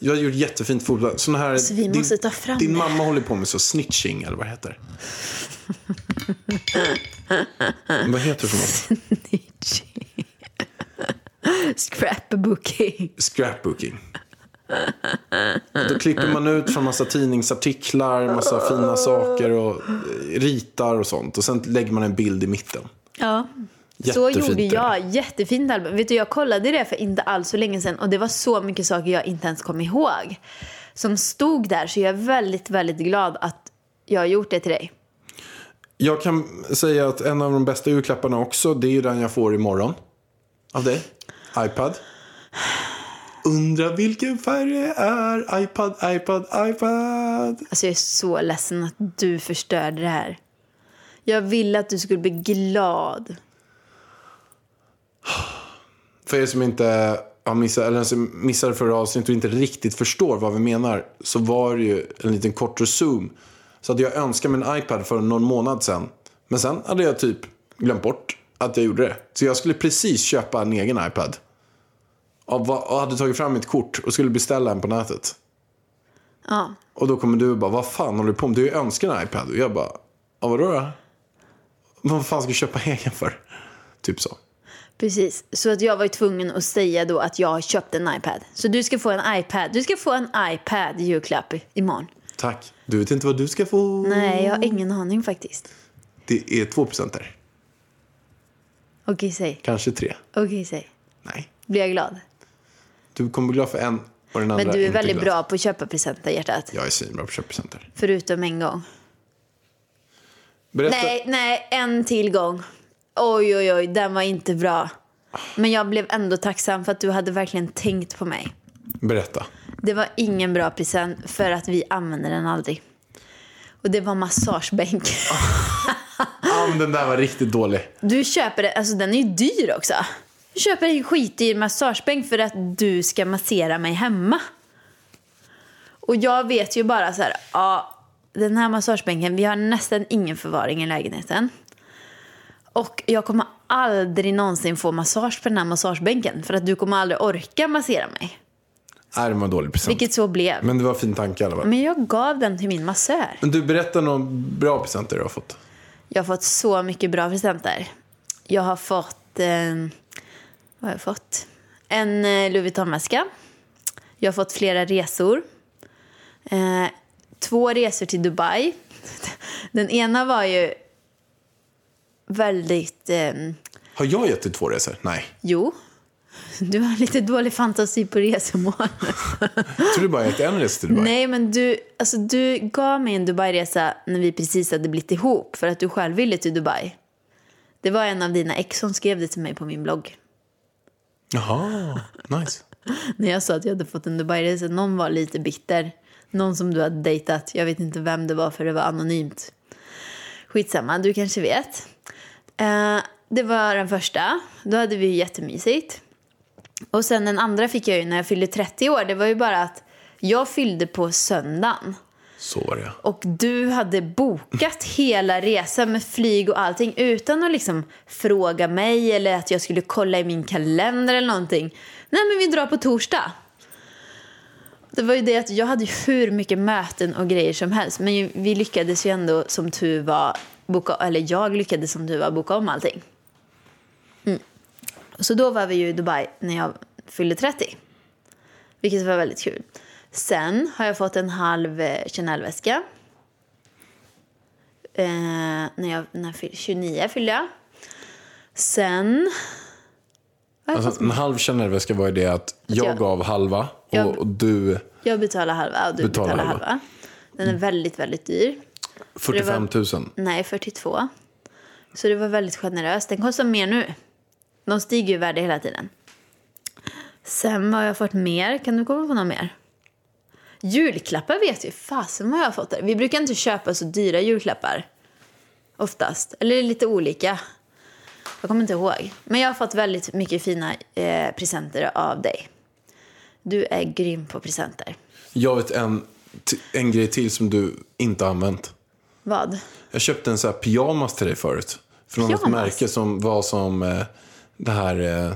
[SPEAKER 6] Jag hade gjort jättefint fotboll. Såna här,
[SPEAKER 5] Så Alltså, vi måste ta fram
[SPEAKER 6] Din
[SPEAKER 5] det.
[SPEAKER 6] mamma håller på med så snitching, eller vad det heter. vad heter det för något?
[SPEAKER 5] Scrapbooking.
[SPEAKER 6] Scrapbooking. Då klipper man ut från massa tidningsartiklar, massa fina saker och eh, ritar och sånt. Och sen lägger man en bild i mitten.
[SPEAKER 5] Ja. Så
[SPEAKER 6] Jättefint
[SPEAKER 5] gjorde
[SPEAKER 6] är det.
[SPEAKER 5] jag. Jättefint album. Vet du, jag kollade det för inte alls så länge sedan och det var så mycket saker jag inte ens kom ihåg som stod där. Så jag är väldigt, väldigt glad att jag har gjort det till dig.
[SPEAKER 6] Jag kan säga att en av de bästa julklapparna också, det är ju den jag får imorgon. Av dig. iPad. Undra vilken färg det är. iPad, iPad, iPad.
[SPEAKER 5] Alltså jag är så ledsen att du förstörde det här. Jag ville att du skulle bli glad.
[SPEAKER 6] För er som inte har missat, eller som missade förra avsnittet och inte riktigt förstår vad vi menar. Så var det ju en liten kort resume. Så hade jag önskat mig en iPad för någon månad sedan. Men sen hade jag typ glömt bort att jag gjorde det. Så jag skulle precis köpa en egen iPad. Och va- och hade tagit fram mitt kort och skulle beställa en på nätet.
[SPEAKER 5] Ja.
[SPEAKER 6] Och då kommer du och bara, vad fan håller du på med? Du önskar en iPad. Och jag bara, ja vadå då? Vad fan ska du köpa egen för? Typ så.
[SPEAKER 5] Precis, så att jag var ju tvungen att säga då att jag har köpt en iPad. Så du ska få en iPad. Du ska få en iPad i julklapp i- imorgon.
[SPEAKER 6] Tack. Du vet inte vad du ska få.
[SPEAKER 5] Nej, jag har ingen aning faktiskt.
[SPEAKER 6] Det är två presenter.
[SPEAKER 5] Okej, säg.
[SPEAKER 6] Kanske tre.
[SPEAKER 5] Okej, säg.
[SPEAKER 6] Nej.
[SPEAKER 5] Blir jag glad?
[SPEAKER 6] Du kommer bli glad för en och den andra
[SPEAKER 5] Men du är
[SPEAKER 6] inte
[SPEAKER 5] väldigt
[SPEAKER 6] glad.
[SPEAKER 5] bra på att köpa presenter, hjärtat.
[SPEAKER 6] Jag är svinbra på köppresenter.
[SPEAKER 5] Förutom en gång.
[SPEAKER 6] Berätta.
[SPEAKER 5] Nej, nej, en till gång. Oj, oj, oj, den var inte bra. Men jag blev ändå tacksam för att du hade verkligen tänkt på mig.
[SPEAKER 6] Berätta.
[SPEAKER 5] Det var ingen bra present för att vi använde den aldrig. Och det var massagebänk.
[SPEAKER 6] Ah, men den där var riktigt dålig.
[SPEAKER 5] Du köper den, alltså den är ju dyr också. Du köper en skitdyr massagebänk för att du ska massera mig hemma. Och jag vet ju bara så här, ja, den här massagebänken, vi har nästan ingen förvaring i lägenheten. Och jag kommer aldrig någonsin få massage på den här massagebänken för att du kommer aldrig orka massera mig.
[SPEAKER 6] Nej, den var en dålig present.
[SPEAKER 5] Vilket så blev.
[SPEAKER 6] Men det var en fin tanke i alla fall.
[SPEAKER 5] Men jag gav den till min massör.
[SPEAKER 6] Men du, berätta några bra presenter du har fått.
[SPEAKER 5] Jag har fått så mycket bra presenter. Jag har fått... Eh, vad har jag fått? En eh, Louis Vuitton-väska. Jag har fått flera resor. Eh, två resor till Dubai. Den ena var ju väldigt... Eh,
[SPEAKER 6] Har jag gett dig två resor? Nej.
[SPEAKER 5] jo, du har lite dålig fantasi på resemål.
[SPEAKER 6] Jag tror du bara gett en resa till Dubai.
[SPEAKER 5] Nej, men du, alltså, du gav mig en Dubai-resa när vi precis hade blivit ihop för att du själv ville till Dubai. Det var en av dina ex som skrev det till mig på min blogg.
[SPEAKER 6] Jaha, nice.
[SPEAKER 5] När jag sa att jag hade fått en Dubai-resa, någon var lite bitter. Någon som du hade dejtat. Jag vet inte vem det var för det var anonymt. Skitsamma, du kanske vet. Eh, det var den första. Då hade vi ju jättemysigt. Och sen den andra fick jag ju när jag fyllde 30 år. Det var ju bara att jag fyllde på söndagen.
[SPEAKER 6] Så var det
[SPEAKER 5] och du hade bokat hela resan med flyg och allting utan att liksom fråga mig eller att jag skulle kolla i min kalender eller någonting. Nej men vi drar på torsdag. Det var ju det att jag hade ju hur mycket möten och grejer som helst men ju- vi lyckades ju ändå som tur var boka, eller jag lyckades som tur var boka om allting. Mm. Så då var vi ju i Dubai när jag fyllde 30. Vilket var väldigt kul. Sen har jag fått en halv eh, Chanel-väska. Eh, när jag, när jag fyll, 29 fyllde jag. Sen... Vad har jag, fått?
[SPEAKER 6] Alltså, en halv Chanel-väska var ju det att jag,
[SPEAKER 5] jag-
[SPEAKER 6] gav halva och,
[SPEAKER 5] Jag-
[SPEAKER 6] och du
[SPEAKER 5] jag betalar halva och du
[SPEAKER 6] Betalar
[SPEAKER 5] betalar,
[SPEAKER 6] halva.
[SPEAKER 5] halva. Den är väldigt, väldigt dyr.
[SPEAKER 6] 45 000.
[SPEAKER 5] Nej, 42. Så det var väldigt generöst. Den kostar mer nu. De stiger ju i värde hela tiden. Sen vad har jag fått mer? Kan du komma på något mer? Julklappar vet jag ju. Fasen vad jag har fått där. Vi brukar inte köpa så dyra julklappar. Oftast. Eller det är lite olika. Jag kommer inte ihåg. Men jag har fått väldigt mycket fina eh, presenter av dig. Du är grym på presenter.
[SPEAKER 6] Jag vet en, t- en grej till som du inte har använt.
[SPEAKER 5] Vad?
[SPEAKER 6] Jag köpte en sån här pyjamas till dig förut. Från något
[SPEAKER 5] Pyjamas?
[SPEAKER 6] märke som var som eh, det här eh,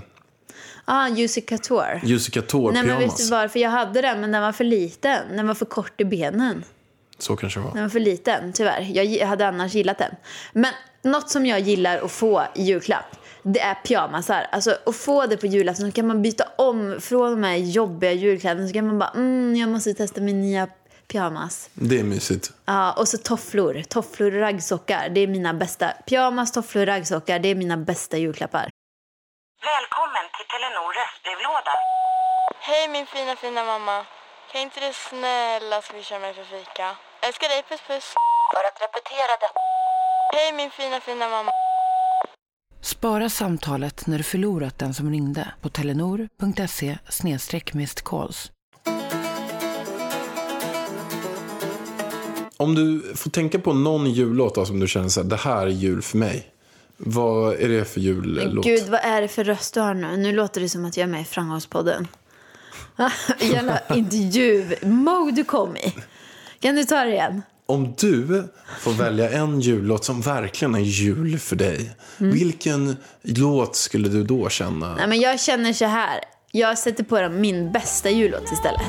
[SPEAKER 5] Ah, Juicy Couture.
[SPEAKER 6] Juicy
[SPEAKER 5] Nej men vet du
[SPEAKER 6] Couture-pyjamas.
[SPEAKER 5] varför? Jag hade den men den var för liten. Den var för kort i benen.
[SPEAKER 6] Så kanske det var.
[SPEAKER 5] Den var för liten, tyvärr. Jag gi- hade annars gillat den. Men något som jag gillar att få i julklapp, det är pyjamasar. Alltså att få det på julafton, så kan man byta om från de här jobbiga julkläderna. Så kan man bara, mm, jag måste testa min nya pyjamas.
[SPEAKER 6] Det är mysigt.
[SPEAKER 5] Ja, och så tofflor. Tofflor och raggsockar. Det är mina bästa. Pyjamas, tofflor och raggsockar, det är mina bästa julklappar.
[SPEAKER 7] Välkommen till Telenor röstbrevlåda.
[SPEAKER 8] Hej min fina fina mamma. Kan inte du snälla swisha mig för fika? Älskar dig, puss puss.
[SPEAKER 7] För att repetera detta
[SPEAKER 8] Hej min fina fina mamma.
[SPEAKER 9] Spara samtalet när du förlorat den som ringde på telenor.se calls.
[SPEAKER 6] Om du får tänka på någon jullåt då, som du känner så här, det här är jul för mig. Vad är det för jullåt?
[SPEAKER 5] Gud, vad är det för röst du har nu? Nu låter det som att jag är med i Framgångspodden. Ah, Jävla intervju-mode du kom i. Kan du ta det igen?
[SPEAKER 6] Om du får välja en jullåt som verkligen är jul för dig.
[SPEAKER 5] Mm.
[SPEAKER 6] Vilken låt skulle du då känna?
[SPEAKER 5] Nej, men jag känner så här. Jag sätter på den min bästa jullåt istället.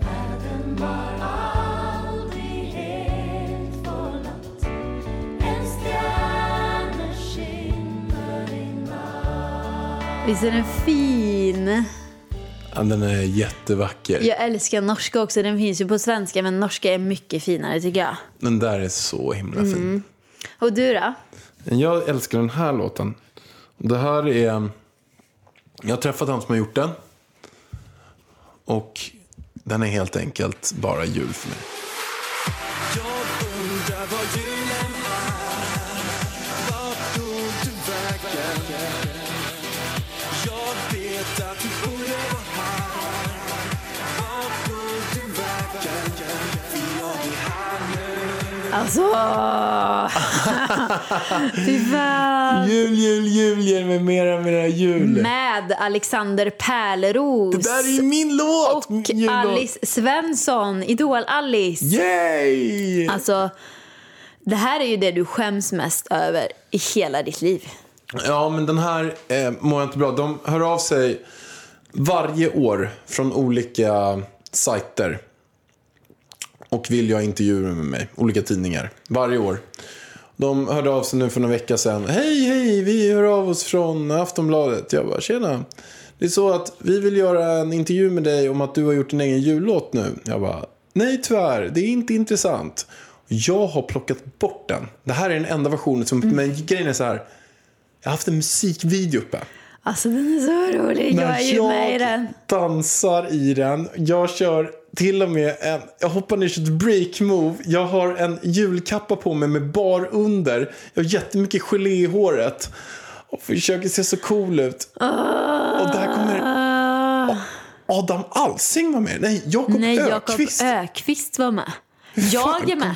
[SPEAKER 10] Världen var all
[SPEAKER 5] Visst är den fin?
[SPEAKER 6] Ja, Den är jättevacker.
[SPEAKER 5] Jag älskar norska också. Den finns ju på svenska, men norska är mycket finare tycker jag.
[SPEAKER 6] Den där är så himla fin.
[SPEAKER 5] Och du då?
[SPEAKER 6] Jag älskar den här låten. Det här är... Jag har träffat han som har gjort den. Och den är helt enkelt bara jul för mig.
[SPEAKER 5] Alltså... Fy fan.
[SPEAKER 6] Jul, jul, jul, ge mig mera, mera jul.
[SPEAKER 5] Med Alexander Pärleros.
[SPEAKER 6] Det där är ju min låt!
[SPEAKER 5] Och
[SPEAKER 6] Jullåt.
[SPEAKER 5] Alice Svensson, Idol-Alice.
[SPEAKER 6] Yay!
[SPEAKER 5] Alltså, det här är ju det du skäms mest över i hela ditt liv.
[SPEAKER 6] Ja, men den här eh, mår jag inte bra. De hör av sig varje år från olika sajter. Och vill jag intervjuer med mig. Olika tidningar. Varje år. De hörde av sig nu för några vecka sedan. Hej, hej, vi hör av oss från Aftonbladet. Jag bara, tjena. Det är så att vi vill göra en intervju med dig om att du har gjort din egen jullåt nu. Jag bara, nej tyvärr, det är inte intressant. Jag har plockat bort den. Det här är den enda versionen som, men grejen är så här. Jag har haft en musikvideo uppe.
[SPEAKER 5] Alltså den är så rolig.
[SPEAKER 6] Men
[SPEAKER 5] jag är ju med i den.
[SPEAKER 6] dansar i den. Jag kör till och med en, jag hoppar ner och kör ett break move. Jag har en julkappa på mig med bar under. Jag har jättemycket gelé i håret. Och försöker se så cool ut. Och där kommer
[SPEAKER 5] Ah.
[SPEAKER 6] Adam Alsing vara med. Nej, Jakob
[SPEAKER 5] Nej, Jakob
[SPEAKER 6] Ökvist.
[SPEAKER 5] Ökvist var med. Jag är med.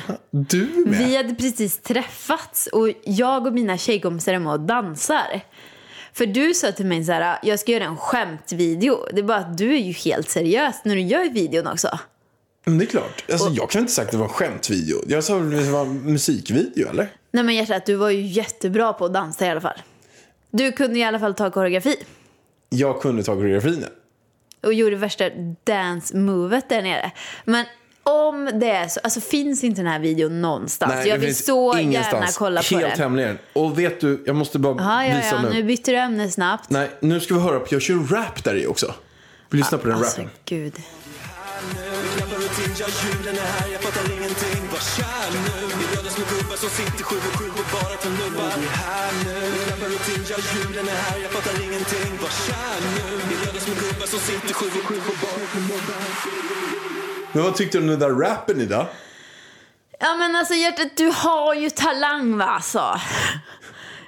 [SPEAKER 6] Du är med.
[SPEAKER 5] Vi hade precis träffats och jag och mina tjejkompisar är med och dansar. För du sa till mig så här, "Ah, jag ska göra en skämtvideo. Det är bara att du är ju helt seriös när du gör videon också.
[SPEAKER 6] Men det är klart. Alltså, jag kan inte säga att det var en skämtvideo. Jag sa väl att det var en musikvideo, eller?
[SPEAKER 5] Nej men hjärtat, du var ju jättebra på att dansa i alla fall. Du kunde i alla fall ta koreografi.
[SPEAKER 6] Jag kunde ta koreografin.
[SPEAKER 5] och gjorde värsta dance-movet där nere. Men om det är så, alltså finns inte den här videon någonstans? Alltså, jag
[SPEAKER 6] det
[SPEAKER 5] vill
[SPEAKER 6] finns
[SPEAKER 5] så gärna
[SPEAKER 6] ingenstans.
[SPEAKER 5] kolla på
[SPEAKER 6] Helt
[SPEAKER 5] den.
[SPEAKER 6] hemlig är den. Och vet du, jag måste bara
[SPEAKER 5] Ja, ja,
[SPEAKER 6] visa
[SPEAKER 5] ja,
[SPEAKER 6] nu.
[SPEAKER 5] nu bytte du ämne snabbt.
[SPEAKER 6] Nej, nu ska vi höra på, jag kör en rap där i också. Vi lyssnar på den
[SPEAKER 5] Alltså,
[SPEAKER 6] rappen.
[SPEAKER 5] gud.
[SPEAKER 6] Men vad tyckte du om den där rappen Ida?
[SPEAKER 5] Ja men alltså hjärtat, du har ju talang va alltså.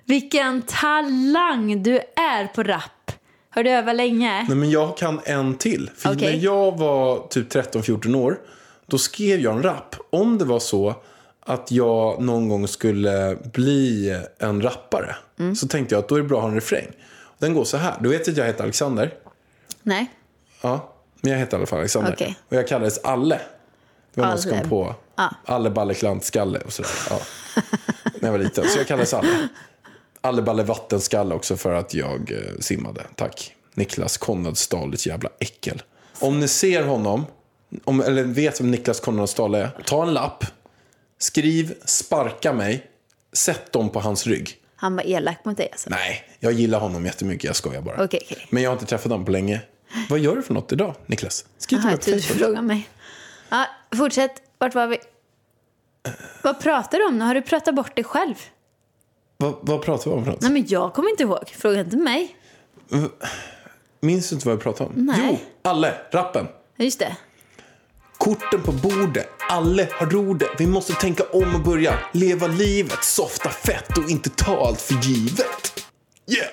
[SPEAKER 5] Vilken talang du är på rap. Har du övat länge?
[SPEAKER 6] Nej men jag kan en till. För
[SPEAKER 5] Okej.
[SPEAKER 6] när jag var typ 13-14 år, då skrev jag en rap. Om det var så att jag någon gång skulle bli en rappare.
[SPEAKER 5] Mm.
[SPEAKER 6] Så tänkte jag att då är det bra att ha en refräng. Den går så här. Du vet att jag heter Alexander?
[SPEAKER 5] Nej.
[SPEAKER 6] Ja, men jag heter i alla fall Alexander.
[SPEAKER 5] Okej.
[SPEAKER 6] Och jag kallades Alle. Det var någon som
[SPEAKER 5] Alle.
[SPEAKER 6] kom på. Alle Balle Klantskalle och sådär. Ja. När jag var liten. Så jag kallades Alle. Alle Balle Vattenskalle också för att jag eh, simmade. Tack. Niklas Konradsdal, ditt jävla äckel. Om ni ser honom, om, eller vet vem Niklas Konradsdal är, ta en lapp, skriv sparka mig, sätt dem på hans rygg.
[SPEAKER 5] Han var elak mot dig alltså.
[SPEAKER 6] Nej, jag gillar honom jättemycket. Jag skojar bara.
[SPEAKER 5] Okej, okej.
[SPEAKER 6] Men jag har inte träffat honom på länge. Vad gör du för något idag, Niklas? Skriv till
[SPEAKER 5] Aha, jag
[SPEAKER 6] mig på
[SPEAKER 5] trodde du
[SPEAKER 6] Facebook.
[SPEAKER 5] frågade mig. Ja, fortsätt. Vart var vi? Vad pratar du om nu? Har du pratat bort dig själv?
[SPEAKER 6] Vad, vad pratar vi om för något?
[SPEAKER 5] Nej, men jag kommer inte ihåg. Fråga inte mig.
[SPEAKER 6] Minns du inte vad vi pratade om?
[SPEAKER 5] Nej.
[SPEAKER 6] Jo, Alle, rappen.
[SPEAKER 5] Ja, Just det.
[SPEAKER 6] Korten på bordet, alla har rodet. Vi måste tänka om och börja leva livet. Softa fett och inte ta allt för givet. Yeah!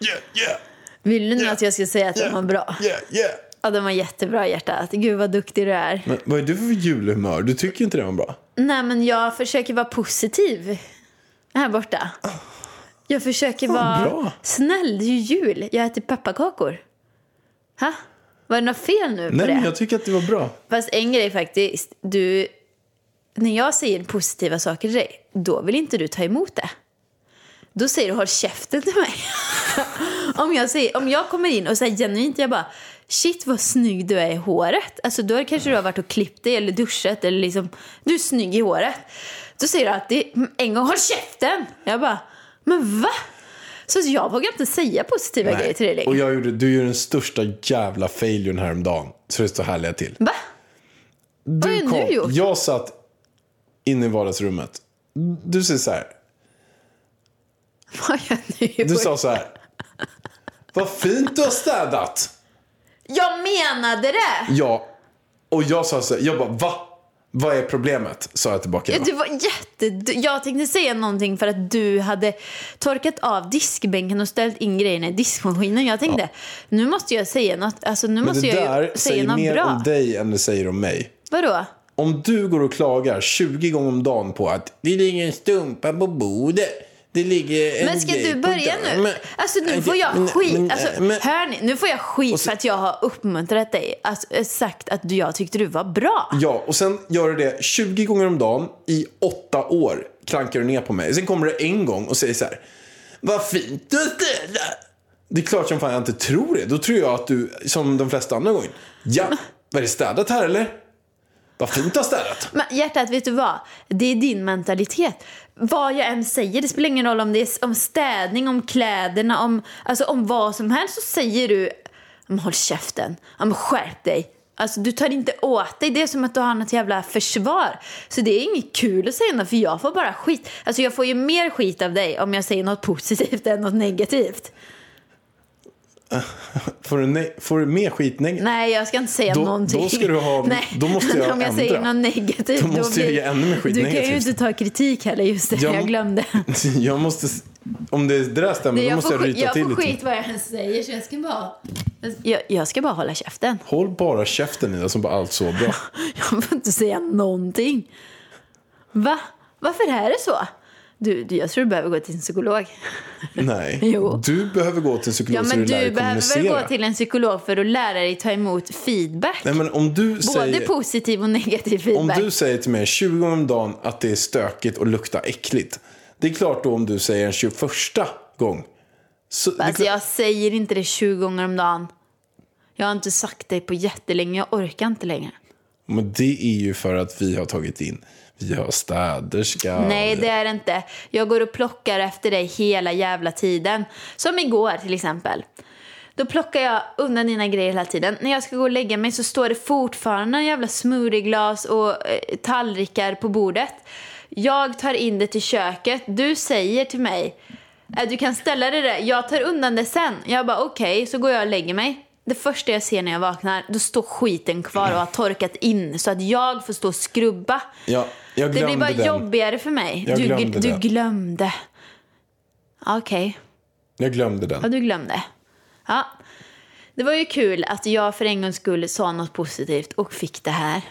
[SPEAKER 6] Yeah, yeah!
[SPEAKER 5] Vill du nu
[SPEAKER 6] Ja.
[SPEAKER 5] att jag ska säga att den var bra?
[SPEAKER 6] Yeah, yeah!
[SPEAKER 5] Ja, den var jättebra hjärtat. Gud vad duktig du är.
[SPEAKER 6] Men vad är du för julhumör? Du tycker inte det var bra?
[SPEAKER 5] Nej, men jag försöker vara positiv här borta. Jag försöker vara
[SPEAKER 6] bra.
[SPEAKER 5] snäll. Det är ju jul. Jag äter pepparkakor. Ha? Var det något fel nu
[SPEAKER 6] Nej,
[SPEAKER 5] på det?
[SPEAKER 6] men jag tycker att det var bra.
[SPEAKER 5] Fast en grej faktiskt. Du, när jag säger positiva saker till dig, då vill inte du ta emot det. Då säger du håll käften till mig. om, jag säger, om jag kommer in och säger genuint, jag bara shit vad snygg du är i håret. Alltså då kanske du har varit och klippt dig eller duschat eller liksom, du är snygg i håret. Då säger du alltid en gång håll käften. Jag bara, men va? Så jag vågar inte säga positiva grejer till dig längre.
[SPEAKER 6] Och jag gjorde, du gjorde den största jävla failuren häromdagen. Så det står härliga till.
[SPEAKER 5] Va?
[SPEAKER 6] Du
[SPEAKER 5] har jag nu gjort?
[SPEAKER 6] Jag satt inne i vardagsrummet. Du säger så här.
[SPEAKER 5] Vad har jag nu gjort?
[SPEAKER 6] Du sa så här. Vad fint du har städat.
[SPEAKER 5] Jag menade det!
[SPEAKER 6] Ja. Och jag sa så här. Jag bara va? Vad är problemet? Sa jag tillbaka.
[SPEAKER 5] Du var jätte... du- Jag tänkte säga någonting för att du hade torkat av diskbänken och ställt in grejerna i diskmaskinen. Jag tänkte, nu måste jag säga något, alltså, nu
[SPEAKER 6] Men
[SPEAKER 5] måste
[SPEAKER 6] det
[SPEAKER 5] jag ju
[SPEAKER 6] där
[SPEAKER 5] säga
[SPEAKER 6] säger
[SPEAKER 5] något
[SPEAKER 6] mer
[SPEAKER 5] bra.
[SPEAKER 6] om dig än det säger om mig.
[SPEAKER 5] Vadå?
[SPEAKER 6] Om du går och klagar 20 gånger om dagen på att det ligger en stumpa på bordet. Det ligger en
[SPEAKER 5] Men ska
[SPEAKER 6] grej
[SPEAKER 5] du
[SPEAKER 6] på
[SPEAKER 5] börja
[SPEAKER 6] dörren.
[SPEAKER 5] nu? Alltså nu får jag
[SPEAKER 6] Men- men-
[SPEAKER 5] skit. Alltså,
[SPEAKER 6] men-
[SPEAKER 5] hör ni? Nu får jag skit
[SPEAKER 6] Och så-
[SPEAKER 5] för att jag har uppmuntrat dig. Alltså, sagt att du- jag tyckte du var bra.
[SPEAKER 6] Ja, och sen gör du det 20 gånger om dagen i åtta år. Klankar du ner på mig. Sen kommer det en gång och säger så här. Vad fint du städar. Det är klart som fan jag inte tror det. Då tror jag att du, som de flesta andra gånger. Ja, var det städat här eller? Vad fint du har städat.
[SPEAKER 5] Men hjärtat, vet du vad? Det är din mentalitet. Vad jag än säger, det spelar ingen roll om det är om städning, om kläderna, om, alltså, om vad som helst så säger du "Men håll käften, Ja, men skärp dig. Alltså du tar inte åt dig, det är som att du har något jävla försvar. Så det är inget kul att säga något för jag får bara skit. Alltså jag får ju mer skit av dig om jag säger något positivt än något negativt.
[SPEAKER 6] Får du, ne- får du mer skitnägg?
[SPEAKER 5] Nej, jag ska inte säga
[SPEAKER 6] Då-
[SPEAKER 5] någonting.
[SPEAKER 6] då ska du ha-
[SPEAKER 5] Nej.
[SPEAKER 6] då måste jag
[SPEAKER 5] Om jag
[SPEAKER 6] ändra.
[SPEAKER 5] säger något negativt.
[SPEAKER 6] Då måste jag ge ännu mer skit
[SPEAKER 5] Du kan ju
[SPEAKER 6] negativt.
[SPEAKER 5] inte ta kritik heller, just det.
[SPEAKER 6] Jag
[SPEAKER 5] Jag,
[SPEAKER 6] må-
[SPEAKER 5] glömde.
[SPEAKER 6] Jag måste, om det det där stämmer,
[SPEAKER 5] Nej,
[SPEAKER 6] då måste jag
[SPEAKER 5] skit-
[SPEAKER 6] ryta
[SPEAKER 5] jag
[SPEAKER 6] till
[SPEAKER 5] får
[SPEAKER 6] lite.
[SPEAKER 5] skit vad jag än säger, så jag ska bara... Jag, jag ska bara hålla käften.
[SPEAKER 6] Håll bara käften Ida, som bara allt så bra.
[SPEAKER 5] Jag får inte säga någonting. Va? Varför är det så? Du, du, jag tror du behöver gå till en psykolog.
[SPEAKER 6] Nej.
[SPEAKER 5] Jo.
[SPEAKER 6] Du behöver gå till en psykolog
[SPEAKER 5] Ja,
[SPEAKER 6] så
[SPEAKER 5] men
[SPEAKER 6] du lär
[SPEAKER 5] du
[SPEAKER 6] dig
[SPEAKER 5] behöver
[SPEAKER 6] kommunicera.
[SPEAKER 5] väl gå till en psykolog för att lära dig ta emot feedback?
[SPEAKER 6] Nej, men om du
[SPEAKER 5] Både
[SPEAKER 6] säger...
[SPEAKER 5] positiv och negativ
[SPEAKER 6] Om
[SPEAKER 5] feedback.
[SPEAKER 6] du säger till mig 20 gånger om dagen att det är stökigt och luktar äckligt. Det är klart då om du säger en 21 gång. Så, det är
[SPEAKER 5] Alltså
[SPEAKER 6] klart-
[SPEAKER 5] jag säger inte det 20 gånger om dagen. Jag har inte sagt det på jättelänge, jag orkar inte längre.
[SPEAKER 6] Men det är ju för att vi har tagit in, vi har städerska.
[SPEAKER 5] Nej, det är det inte. Jag går och plockar efter dig hela jävla tiden. Som igår till exempel. Då plockar jag undan dina grejer hela tiden. När jag ska gå och lägga mig så står det fortfarande en jävla smoothieglas och eh, tallrikar på bordet. Jag tar in det till köket. Du säger till mig "Eh, du kan ställa det där. Jag tar undan det sen. Jag bara okej, så går jag och lägger mig. Det första jag ser när jag vaknar, då står skiten kvar och har torkat in så att jag får stå och skrubba.
[SPEAKER 6] Ja, jag
[SPEAKER 5] Det blir
[SPEAKER 6] glömde
[SPEAKER 5] bara
[SPEAKER 6] den.
[SPEAKER 5] jobbigare för mig.
[SPEAKER 6] Jag
[SPEAKER 5] du, gl-
[SPEAKER 6] glömde
[SPEAKER 5] du
[SPEAKER 6] den.
[SPEAKER 5] glömde. Okej,
[SPEAKER 6] Jag glömde den.
[SPEAKER 5] ja du glömde. Ja. Det var ju kul att jag för en gångs skull sa något positivt och fick det här.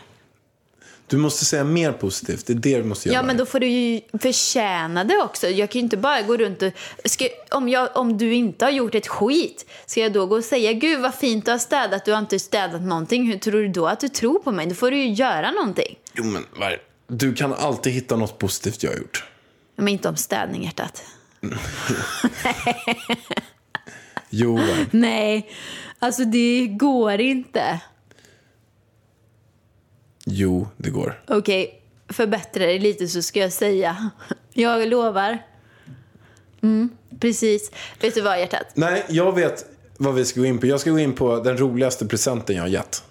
[SPEAKER 6] Du måste säga mer positivt. Det är det du måste göra.
[SPEAKER 5] Ja, men då får du ju förtjäna det också. Jag kan ju inte bara gå runt och... Ska, om, jag, om du inte har gjort ett skit, ska jag då gå och säga gud vad fint du har städat, du har inte städat någonting. Hur tror du då att du tror på mig? Då får du ju göra någonting.
[SPEAKER 6] Jo, men vad är det? Du kan alltid hitta något positivt jag har gjort.
[SPEAKER 5] Men inte om städning, hjärtat.
[SPEAKER 6] Jo, vad är det?
[SPEAKER 5] Nej, alltså det går inte.
[SPEAKER 6] jo det går.
[SPEAKER 5] Okej, förbättra dig lite så ska jag säga. Jag lovar. Mm, precis. Vet du vad, hjärtat?
[SPEAKER 6] Nej, jag vet vad vi ska gå in på. Jag ska gå in på den roligaste presenten jag har gett.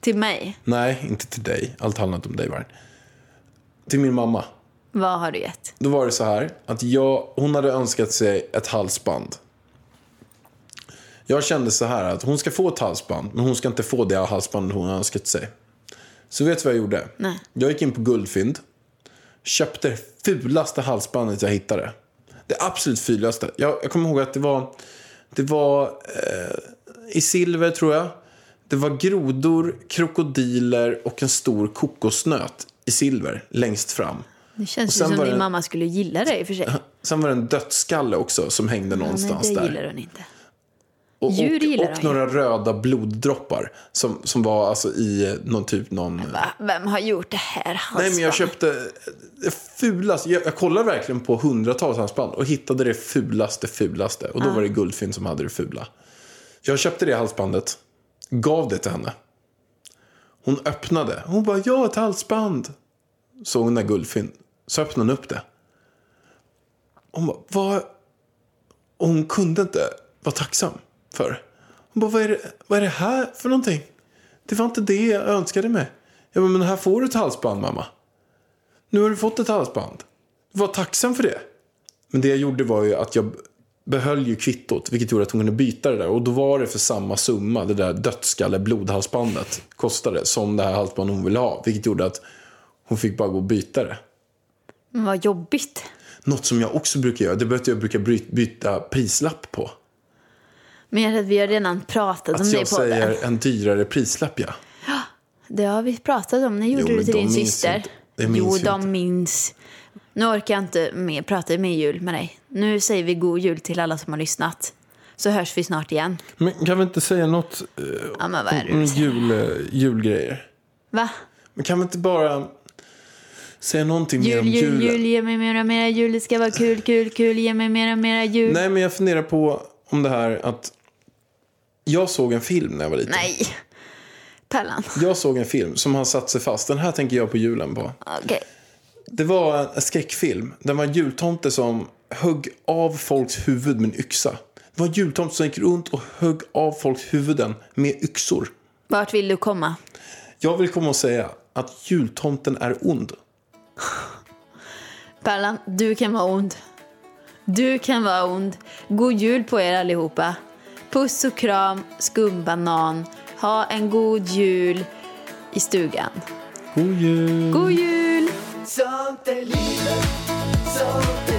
[SPEAKER 5] Till mig,
[SPEAKER 6] Nej, inte till dig. Allt handlar inte om dig, Varg. Till min mamma.
[SPEAKER 5] vad har du gett?
[SPEAKER 6] Då var det så här att jag, hon hade önskat sig ett halsband. Jag kände så här att hon ska få ett halsband, men hon ska inte få det halsband hon har önskat sig. Så vet du vad jag gjorde?
[SPEAKER 5] Nej.
[SPEAKER 6] Jag gick in på Guldfynd, köpte det fulaste halsbandet jag hittade. Det absolut fulaste. Jag, jag kommer ihåg att det var, det var eh, i silver tror jag. Det var grodor, krokodiler och en stor kokosnöt i silver längst fram.
[SPEAKER 5] Det
[SPEAKER 6] Och
[SPEAKER 5] känns
[SPEAKER 6] sen
[SPEAKER 5] ju som
[SPEAKER 6] var
[SPEAKER 5] din
[SPEAKER 6] det-
[SPEAKER 5] mamma skulle gilla dig i och för sig.
[SPEAKER 6] Sen var det en dödsskalle också som hängde
[SPEAKER 5] Nej,
[SPEAKER 6] någonstans
[SPEAKER 5] det
[SPEAKER 6] där.
[SPEAKER 5] gillar hon inte.
[SPEAKER 6] Och, och,
[SPEAKER 5] Djur gillar de
[SPEAKER 6] och
[SPEAKER 5] ju.
[SPEAKER 6] några röda bloddroppar som, som var alltså i någon typ någon...
[SPEAKER 5] Äh, Va? Vem har gjort det här
[SPEAKER 6] Nej
[SPEAKER 5] halsbandet?
[SPEAKER 6] men jag köpte eh, det fulaste. Jag, jag kollade verkligen på hundratals halsband och hittade det fulaste fulaste. Och då var det Guldfynd som hade det fula. Jag köpte det halsbandet. Gav det till henne. Hon öppnade. Hon bara ja ett halsband. Såg hon där Guldfynd. Så öppnade hon upp det. Hon bara vad. Och hon kunde inte vara tacksam för det. Hon bara, vad är, det, vad är det här för någonting? Det var inte det jag önskade mig. Jag bara, men här får du ett halsband mamma. Nu har du fått ett halsband. Var tacksam för det. Men det jag gjorde var ju att jag behöll ju kvittot, vilket gjorde att hon kunde byta det där. Och då var det för samma summa, det där dödskalle blodhalsbandet kostade, som det här halsbandet hon ville ha. Vilket gjorde att hon fick bara gå och byta det.
[SPEAKER 5] Men Mm, vad jobbigt.
[SPEAKER 6] Något som jag också brukar göra, det är att jag brukar bry- byta prislapp på.
[SPEAKER 5] Men jag är rädd, vi har redan pratat om
[SPEAKER 6] Att
[SPEAKER 5] det i
[SPEAKER 6] jag
[SPEAKER 5] podden.
[SPEAKER 6] säger en dyrare prislapp, ja.
[SPEAKER 5] Det har vi pratat om. När gjorde
[SPEAKER 6] Jo,
[SPEAKER 5] du
[SPEAKER 6] men
[SPEAKER 5] till
[SPEAKER 6] de
[SPEAKER 5] din
[SPEAKER 6] minns
[SPEAKER 5] syster?
[SPEAKER 6] inte. Det minns
[SPEAKER 5] jo,
[SPEAKER 6] ju
[SPEAKER 5] de
[SPEAKER 6] inte.
[SPEAKER 5] minns. Nu orkar jag inte mer, prata mer jul med dig. Nu säger vi god jul till alla som har lyssnat. Så hörs vi snart igen.
[SPEAKER 6] Men kan vi inte säga något eh,
[SPEAKER 5] Ja, men vad är det
[SPEAKER 6] om
[SPEAKER 5] du säger?
[SPEAKER 6] jul, eh, julgrejer?
[SPEAKER 5] Va?
[SPEAKER 6] Men kan vi inte bara säga någonting mer
[SPEAKER 5] Jul,
[SPEAKER 6] om
[SPEAKER 5] jul,
[SPEAKER 6] julen?
[SPEAKER 5] jul, ge mig mera, mera jul. Det ska vara kul, kul, kul. Ge mig mera, mera jul.
[SPEAKER 6] Nej, men jag funderar på om det här att jag såg en film när jag var liten.
[SPEAKER 5] Nej. Pärlan.
[SPEAKER 6] Jag såg en film som har satt sig fast. Den här tänker jag på julen på.
[SPEAKER 5] Okej.
[SPEAKER 6] Det var en skräckfilm. Den var en jultomte som högg av folks huvud med en yxa. Det var en jultomte som gick runt och högg av folks huvuden med yxor.
[SPEAKER 5] Vart vill du komma?
[SPEAKER 6] Jag vill komma och säga att jultomten är ond.
[SPEAKER 5] Pärlan, du kan vara ond. Du kan vara ond. God jul på er allihopa. Puss och kram, skumbanan. Ha en god jul i stugan.
[SPEAKER 6] God jul!
[SPEAKER 5] Mm. God jul!
[SPEAKER 4] Sånt är livet, sånt